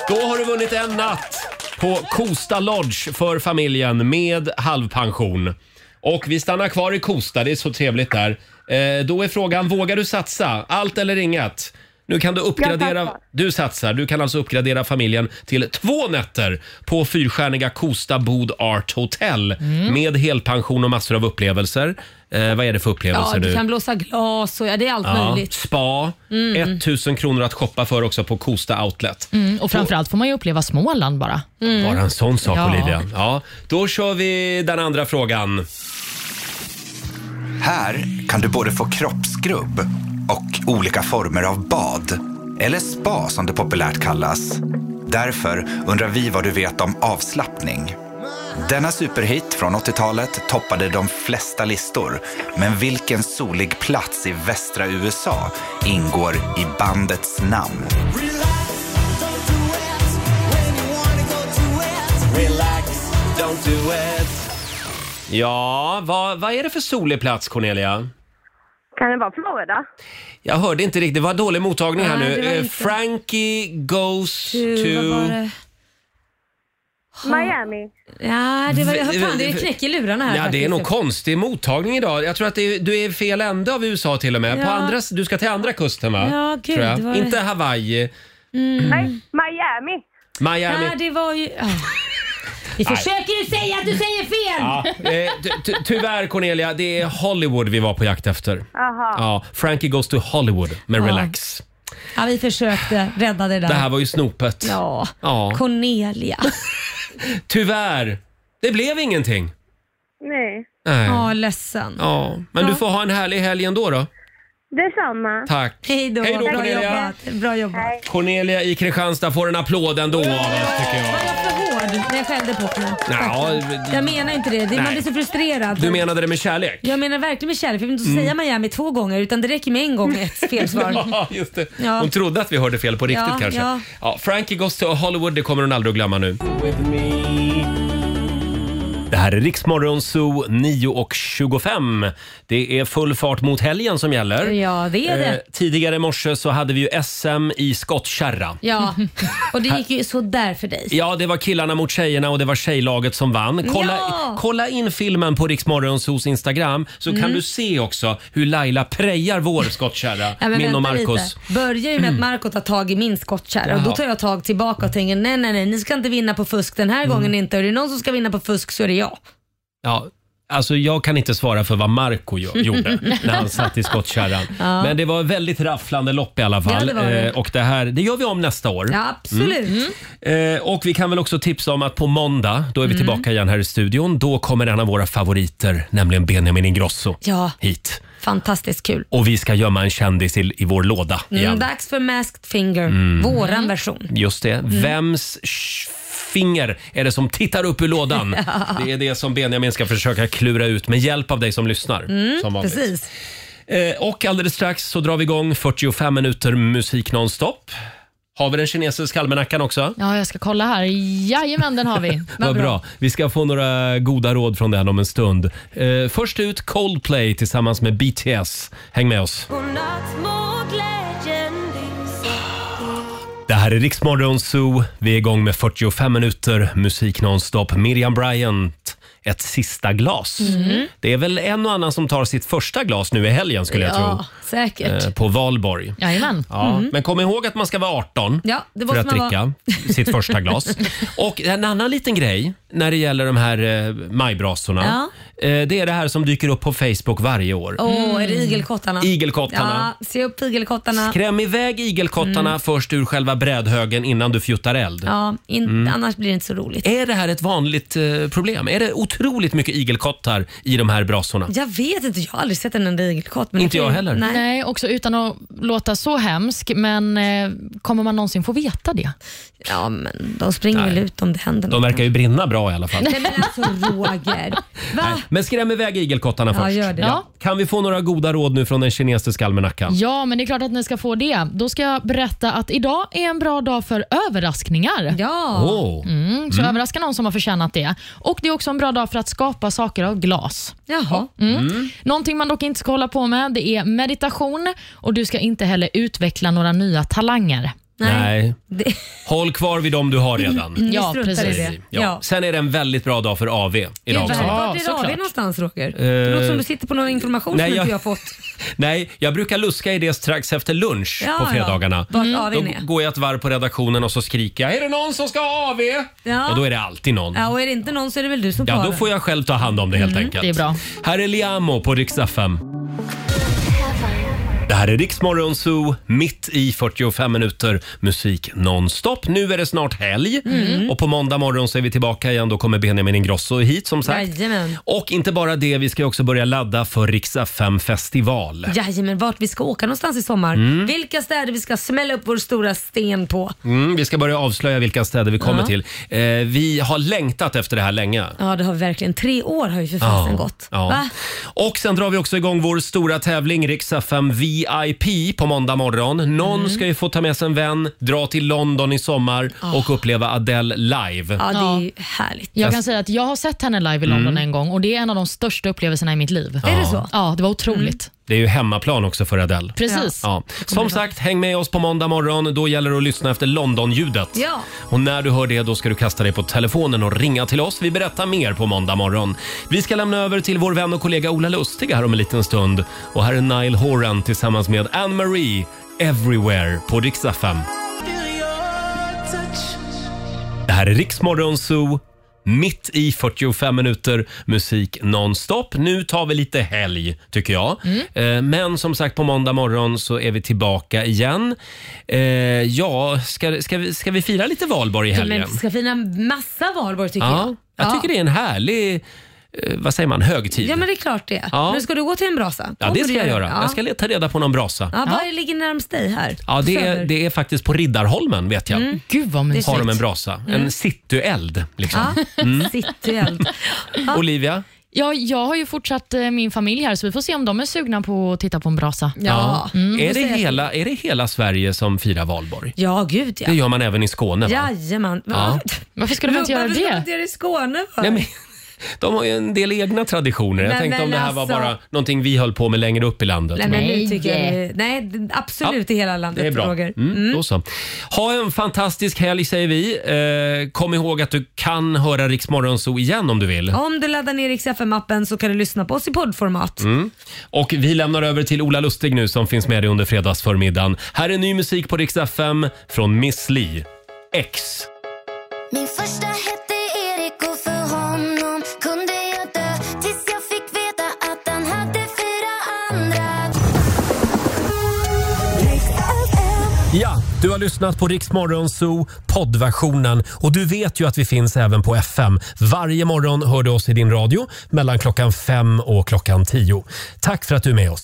S1: Då har du vunnit en natt på Kosta Lodge för familjen med halvpension. Och vi stannar kvar i Kosta, det är så trevligt där. Eh, då är frågan, vågar du satsa? Allt eller inget? Nu kan du uppgradera...
S17: Jag satsar.
S1: Du satsar. Du kan alltså uppgradera familjen till två nätter på fyrstjärniga Kosta Bod Art Hotel med helpension och massor av upplevelser. Eh, vad är det för upplevelser
S2: Ja,
S1: nu?
S2: du kan blåsa glas och ja, det är allt möjligt.
S1: Spa,
S4: Mm.
S1: 1000 kronor att shoppa för också på Kosta Outlet.
S4: Mm, och framförallt får man ju uppleva Småland bara.
S2: Mm.
S1: Bara en sån sak
S4: Ja.
S1: Olivia. Ja, då kör vi den andra frågan.
S18: Här kan du både få kroppsskrubb och olika former av bad. Eller spa som det populärt kallas. Därför undrar vi vad du vet om avslappning. Denna superhit från 80-talet toppade de flesta listor. Men vilken solig plats i västra USA ingår i bandets namn?
S5: Relax, don't do it.
S1: Ja, vad, vad är det för solig plats Cornelia?
S17: Kan det vara Florida?
S1: Jag hörde inte riktigt, det var dålig mottagning här
S17: Nej,
S1: nu.
S17: det var
S1: Eh,
S17: inte.
S1: Frankie goes
S2: Gud, vad var
S1: to...
S2: det?
S17: Miami.
S2: Ja, det var, jag hör fan, det är knäck i lurarna här
S1: Ja, det är
S2: faktiskt.
S1: nog konstig mottagning idag. Jag tror att det är, du är i fel ände av USA till och med. På
S17: Ja.
S1: andra, s- du ska till andra kusten va?
S2: Ja, gud,
S1: Tror jag.
S2: vad det-
S1: Inte Hawaii,
S17: Nej, Miami.
S1: Miami.
S2: Mm. Ja, det var ju... ja. Vi
S1: Nej.
S2: försöker ju säga att du säger fel!
S1: Ja, eh, ty- ty- tyvärr Cornelia, det är Hollywood vi var på jakt efter.
S2: Aha.
S1: Ja, Frankie goes to Hollywood med
S2: Ja.
S1: Relax.
S2: Ja, vi försökte rädda det där.
S1: Det här var ju snopet.
S2: Ja.
S1: ja.
S2: Cornelia.
S1: Tyvärr, det blev ingenting.
S17: Nej.
S1: Nej.
S2: Ja, ledsen.
S1: Ja, men du
S17: Ja.
S1: får ha en härlig helg ändå då.
S17: Detsamma.
S1: Tack.
S2: Hej då.
S1: Hej då,
S2: Bra
S1: Cornelia.
S2: jobbat. Bra jobbat.
S1: Cornelia i Kristianstad får en applåd ändå av oss tycker jag.
S2: Var jag för hård när jag skällde på honom?
S1: Ja, eh,
S2: Jag menar inte det. det man
S1: Nej.
S2: blir så frustrerad.
S1: Du menade det med kärlek?
S2: Jag menar verkligen med kärlek. För då
S1: Mm.
S2: säger Miami två gånger utan det räcker med en gång ett felsvar.
S1: Ja, just det.
S2: Ja.
S1: Hon trodde att vi hörde fel på riktigt
S2: Ja,
S1: kanske.
S2: ja.
S1: Ja. Frankie Goes to Hollywood, det kommer hon aldrig att glömma nu. Det här är Riksmorgon Zoo 9.25. Det är full fart mot helgen som gäller. Eh,
S2: Ja, det är det.
S1: tidigare i morse så hade vi ju SM i skottkärra.
S2: Ja, och det gick ju så där för dig.
S1: Ja, det var killarna mot tjejerna och det var tjejlaget som vann. Kolla,
S2: Ja!
S1: kolla in filmen på Riksmorgonsos Instagram så
S2: Mm.
S1: kan du se också hur Laila prejar vår skottkärra,
S2: Ja, men
S1: min och
S2: vänta
S1: Marcos. Mm.
S2: lite. Börjar ju med att Marco tar tag i min skottkärra och då
S1: Jaha.
S2: tar jag tag tillbaka och tänker nej, nej, nej, ni ska inte vinna på fusk den
S1: Mm.
S2: här gången inte. Och är det någon som ska vinna på fusk så är det jag.
S1: Ja, alltså jag kan inte svara för vad Marco gö- gjorde när han satt i skottkärran.
S2: Ja.
S1: Men det var väldigt rafflande lopp i alla fall.
S2: Ja, det var det.
S1: Eh, Och det här det gör vi om nästa år.
S2: Ja, absolut.
S1: Mm. Eh, och vi kan väl också tipsa om att på måndag, då är vi
S2: Mm.
S1: tillbaka igen här i studion. Då kommer en av våra favoriter, nämligen Benjamin Ingrosso,
S2: Ja,
S1: hit.
S2: fantastiskt kul.
S1: Och vi ska gömma en kändis i, i vår låda igen.
S2: Mm, dags för Masked Finger,
S1: Mm.
S2: våran version.
S1: Just det.
S2: Mm.
S1: Vems sh- finger är det som tittar upp ur lådan?
S2: Ja.
S1: Det är det som Benjamin ska försöka klura ut med hjälp av dig som lyssnar.
S2: Mm,
S1: som vanligt.
S2: precis.
S1: Eh, Och alldeles strax så drar vi igång 45 minuter musik nonstop. Har vi den kinesiska almanackan också?
S4: Ja, jag ska kolla här. Jajamän, den har vi.
S1: Vad bra. Vi ska få några goda råd från den om en stund. Eh, först ut Coldplay tillsammans med BTS. Häng med oss. Det här är Riksmorgon Zoo. Vi är igång med 45 minuter musik nonstop. Miriam Bryant, ett sista glas.
S2: Mm.
S1: Det är väl en och annan som tar sitt första glas nu i helgen skulle jag
S2: ja,
S1: tro.
S2: säkert.
S1: Eh, På valborg.
S4: Jajamän.
S1: Ja,
S2: Mm.
S1: Men kom ihåg att man ska vara 18
S2: Ja, det
S1: för
S2: måste
S1: att
S2: man
S1: dricka
S2: vara.
S1: sitt första glas. Och en annan liten grej när det gäller de här eh, majbrasorna. Eh, det är det här som dyker upp på Facebook varje år. Mm.
S2: Åh, är det igelkottarna?
S1: Igelkottarna.
S2: Ja, se upp igelkottarna.
S1: Skräm iväg igelkottarna
S2: Mm.
S1: först ur själva brädhögen innan du fjuttar eld.
S2: Ja, in,
S1: Mm.
S2: annars blir det inte så roligt.
S1: Är det här ett vanligt eh, problem? Är det otroligt mycket igelkottar i de här brasorna?
S2: Jag vet inte, jag har aldrig sett en enda igelkott. men
S1: Inte
S2: det kan
S1: jag
S2: ju-
S1: heller.
S4: Nej.
S2: Nej.
S4: också utan att låta så hemsk, men eh, kommer man någonsin få veta det?
S2: Ja, men de springer väl ut om det händer
S1: De verkar ju brinna bra i alla fall.
S2: Nej men alltså Roger. Va?
S1: Nej, Men skräm iväg igelkottarna
S4: Ja,
S1: först.
S4: gör det. Ja.
S1: Kan vi få några goda råd nu från den kinesiska almanackan?
S4: Ja, men det är klart att ni ska få det. Då ska jag berätta att idag är en bra dag för överraskningar.
S2: Ja.
S1: Åh.
S4: Mm, så
S1: Mm.
S4: överraska någon som har förtjänat det. Och Det är också en bra dag för att skapa saker av glas.
S2: Jaha.
S4: Mm. Någonting man dock inte ska hålla på med det är meditation och du ska inte heller utveckla några nya talanger.
S1: Nej. Håll kvar vid dem du har redan.
S4: Mm, Ja,
S2: struntar i
S4: precis.
S1: säger
S2: det.
S1: vi. Ja. Sen är det en väldigt bra dag för AV idag
S2: Gud,
S1: också.
S2: Vart är det av er någonstans Roger? Det
S1: Eh,
S2: låter som du sitter på någon information
S1: nej,
S2: som inte
S1: jag-
S2: jag har fått.
S1: Nej, jag brukar luska i det strax efter lunch
S2: Ja,
S1: på fredagarna.
S2: ja. Vart AW
S1: Då
S2: är.
S1: g- går jag ett varv på redaktionen och så skriker jag “Är det någon som ska ha AV?”
S2: Ja.
S1: Och då är det alltid någon.
S2: ja, och är det inte någon så är det väl du som
S1: Ja,
S2: tar
S1: då får jag själv ta hand om det helt
S2: Mm,
S1: enkelt.
S2: det är bra.
S1: Här är Liamo på riksdag 5. Det här är Riksmorgon Zoo, mitt i 45 minuter musik nonstop. Nu är det snart helg
S2: Mm.
S1: och på måndag morgon så är vi tillbaka igen. Då kommer Benjamin Ingrosso hit som sagt.
S2: Jajamän.
S1: Och inte bara det, vi ska ju också börja ladda för riksdag 5 festival.
S2: Jajamän, vart vi ska åka någonstans i sommar.
S1: Mm.
S2: Vilka städer vi ska smälla upp vår stora sten på.
S1: Mm, vi ska börja avslöja vilka städer vi kommer
S2: Ja.
S1: till. Eh, vi har längtat efter det här länge.
S2: Ja, det har vi verkligen. Tre år har ju för fasen gått.
S1: ja.
S2: Va?
S1: Och sen drar vi också igång vår stora tävling Riksa 5 VIP på måndag morgon. Någon ska ju få ta med sig en vän, dra till London i sommar och uppleva Adele live.
S4: Ja.
S2: härligt.
S4: Jag kan
S1: Jag-
S4: säga att jag har sett henne live i London
S1: Mm.
S4: en gång och det är en av de största upplevelserna i mitt liv.
S1: Är det så?
S4: Ja, det var otroligt.
S1: Det är ju hemmaplan också för Adele.
S4: Precis.
S1: Ja. Som sagt, häng med oss på måndag morgon. Då gäller det att lyssna efter London-ljudet.
S2: Ja.
S1: Och när du hör det då ska du kasta dig på telefonen och ringa till oss. Vi berättar mer på måndag morgon. Vi ska lämna över till vår vän och kollega Ola Lustig här om en liten stund. Och här är Nile Horan tillsammans med Anne Marie Everywhere på Riksdag 5. Det här är Riksmorgon Zoo. mitt i 45 minuter musik nonstop. Nu tar vi lite helg, tycker jag.
S2: Mm.
S1: Eh, Men som sagt, på måndag morgon så är vi tillbaka igen. Eh, Ja, ska, ska, vi, ska vi fira lite valborg i
S2: Ja,
S1: helgen?
S2: men ska fina massa valborg tycker
S1: ja,
S2: jag.
S1: jag tycker det är en härlig, eh, vad säger man, högtid.
S2: Ja men det är klart det
S1: Ja.
S2: Men ska du gå till en brasa?
S1: Ja, det
S2: Kommer
S1: ska
S2: du
S1: jag göra.
S2: Ja.
S1: Jag ska leta reda på någon brasa.
S2: Ja, vad ligger närmst dig här?
S1: Ja, det är,
S2: Söder.
S1: det är faktiskt på Riddarholmen vet jag.
S2: Mm.
S4: Gud vad
S2: mysigt.
S1: Har de en brasa.
S4: Mm.
S1: En cityeld liksom.
S4: Ja.
S1: Mm.
S2: Cityeld.
S1: Olivia?
S4: Ja, jag har ju fortsatt eh, min familj här, så vi får se om de är sugna på att titta på en brasa. Mm.
S1: Är, det hela, är det hela Sverige som firar valborg?
S2: Ja, gud ja.
S1: Det gör man även i Skåne va?
S2: Jajamän.
S1: Ja.
S4: Varför skulle man inte göra
S2: Robban,
S4: det?
S2: varför ska man inte göra det i Skåne för?
S1: Nej, men, de har ju en del egna traditioner. Jag
S2: Nej,
S1: tänkte
S2: men
S1: om det här
S2: alltså-
S1: var bara någonting vi höll på med längre upp i landet.
S2: Nej,
S1: Men-
S2: men nu tycker jag det- Nej, det- absolut i hela landet
S1: Det är bra.
S2: Roger.
S1: Mm, Då så. Ha en fantastisk helg säger vi. Eh, kom ihåg att du kan höra Rix Morgonzoo igen om du vill.
S2: Om du laddar ner XFM-appen så kan du lyssna på oss i poddformat.
S1: Mm. Och vi lämnar över till Ola Lustig nu som finns med dig under fredagsförmiddagen. Här är ny musik på Rix FM från Miss Li. X.
S19: Min första hette Erik och för honom kunde jag dö tills jag fick veta att han hade fyra andra.
S1: Ja, du har lyssnat på Rix Morgonzoo poddversionen och du vet ju att vi finns även på FM. Varje morgon hör du oss i din radio mellan klockan fem och klockan tio. Tack för att du är med oss.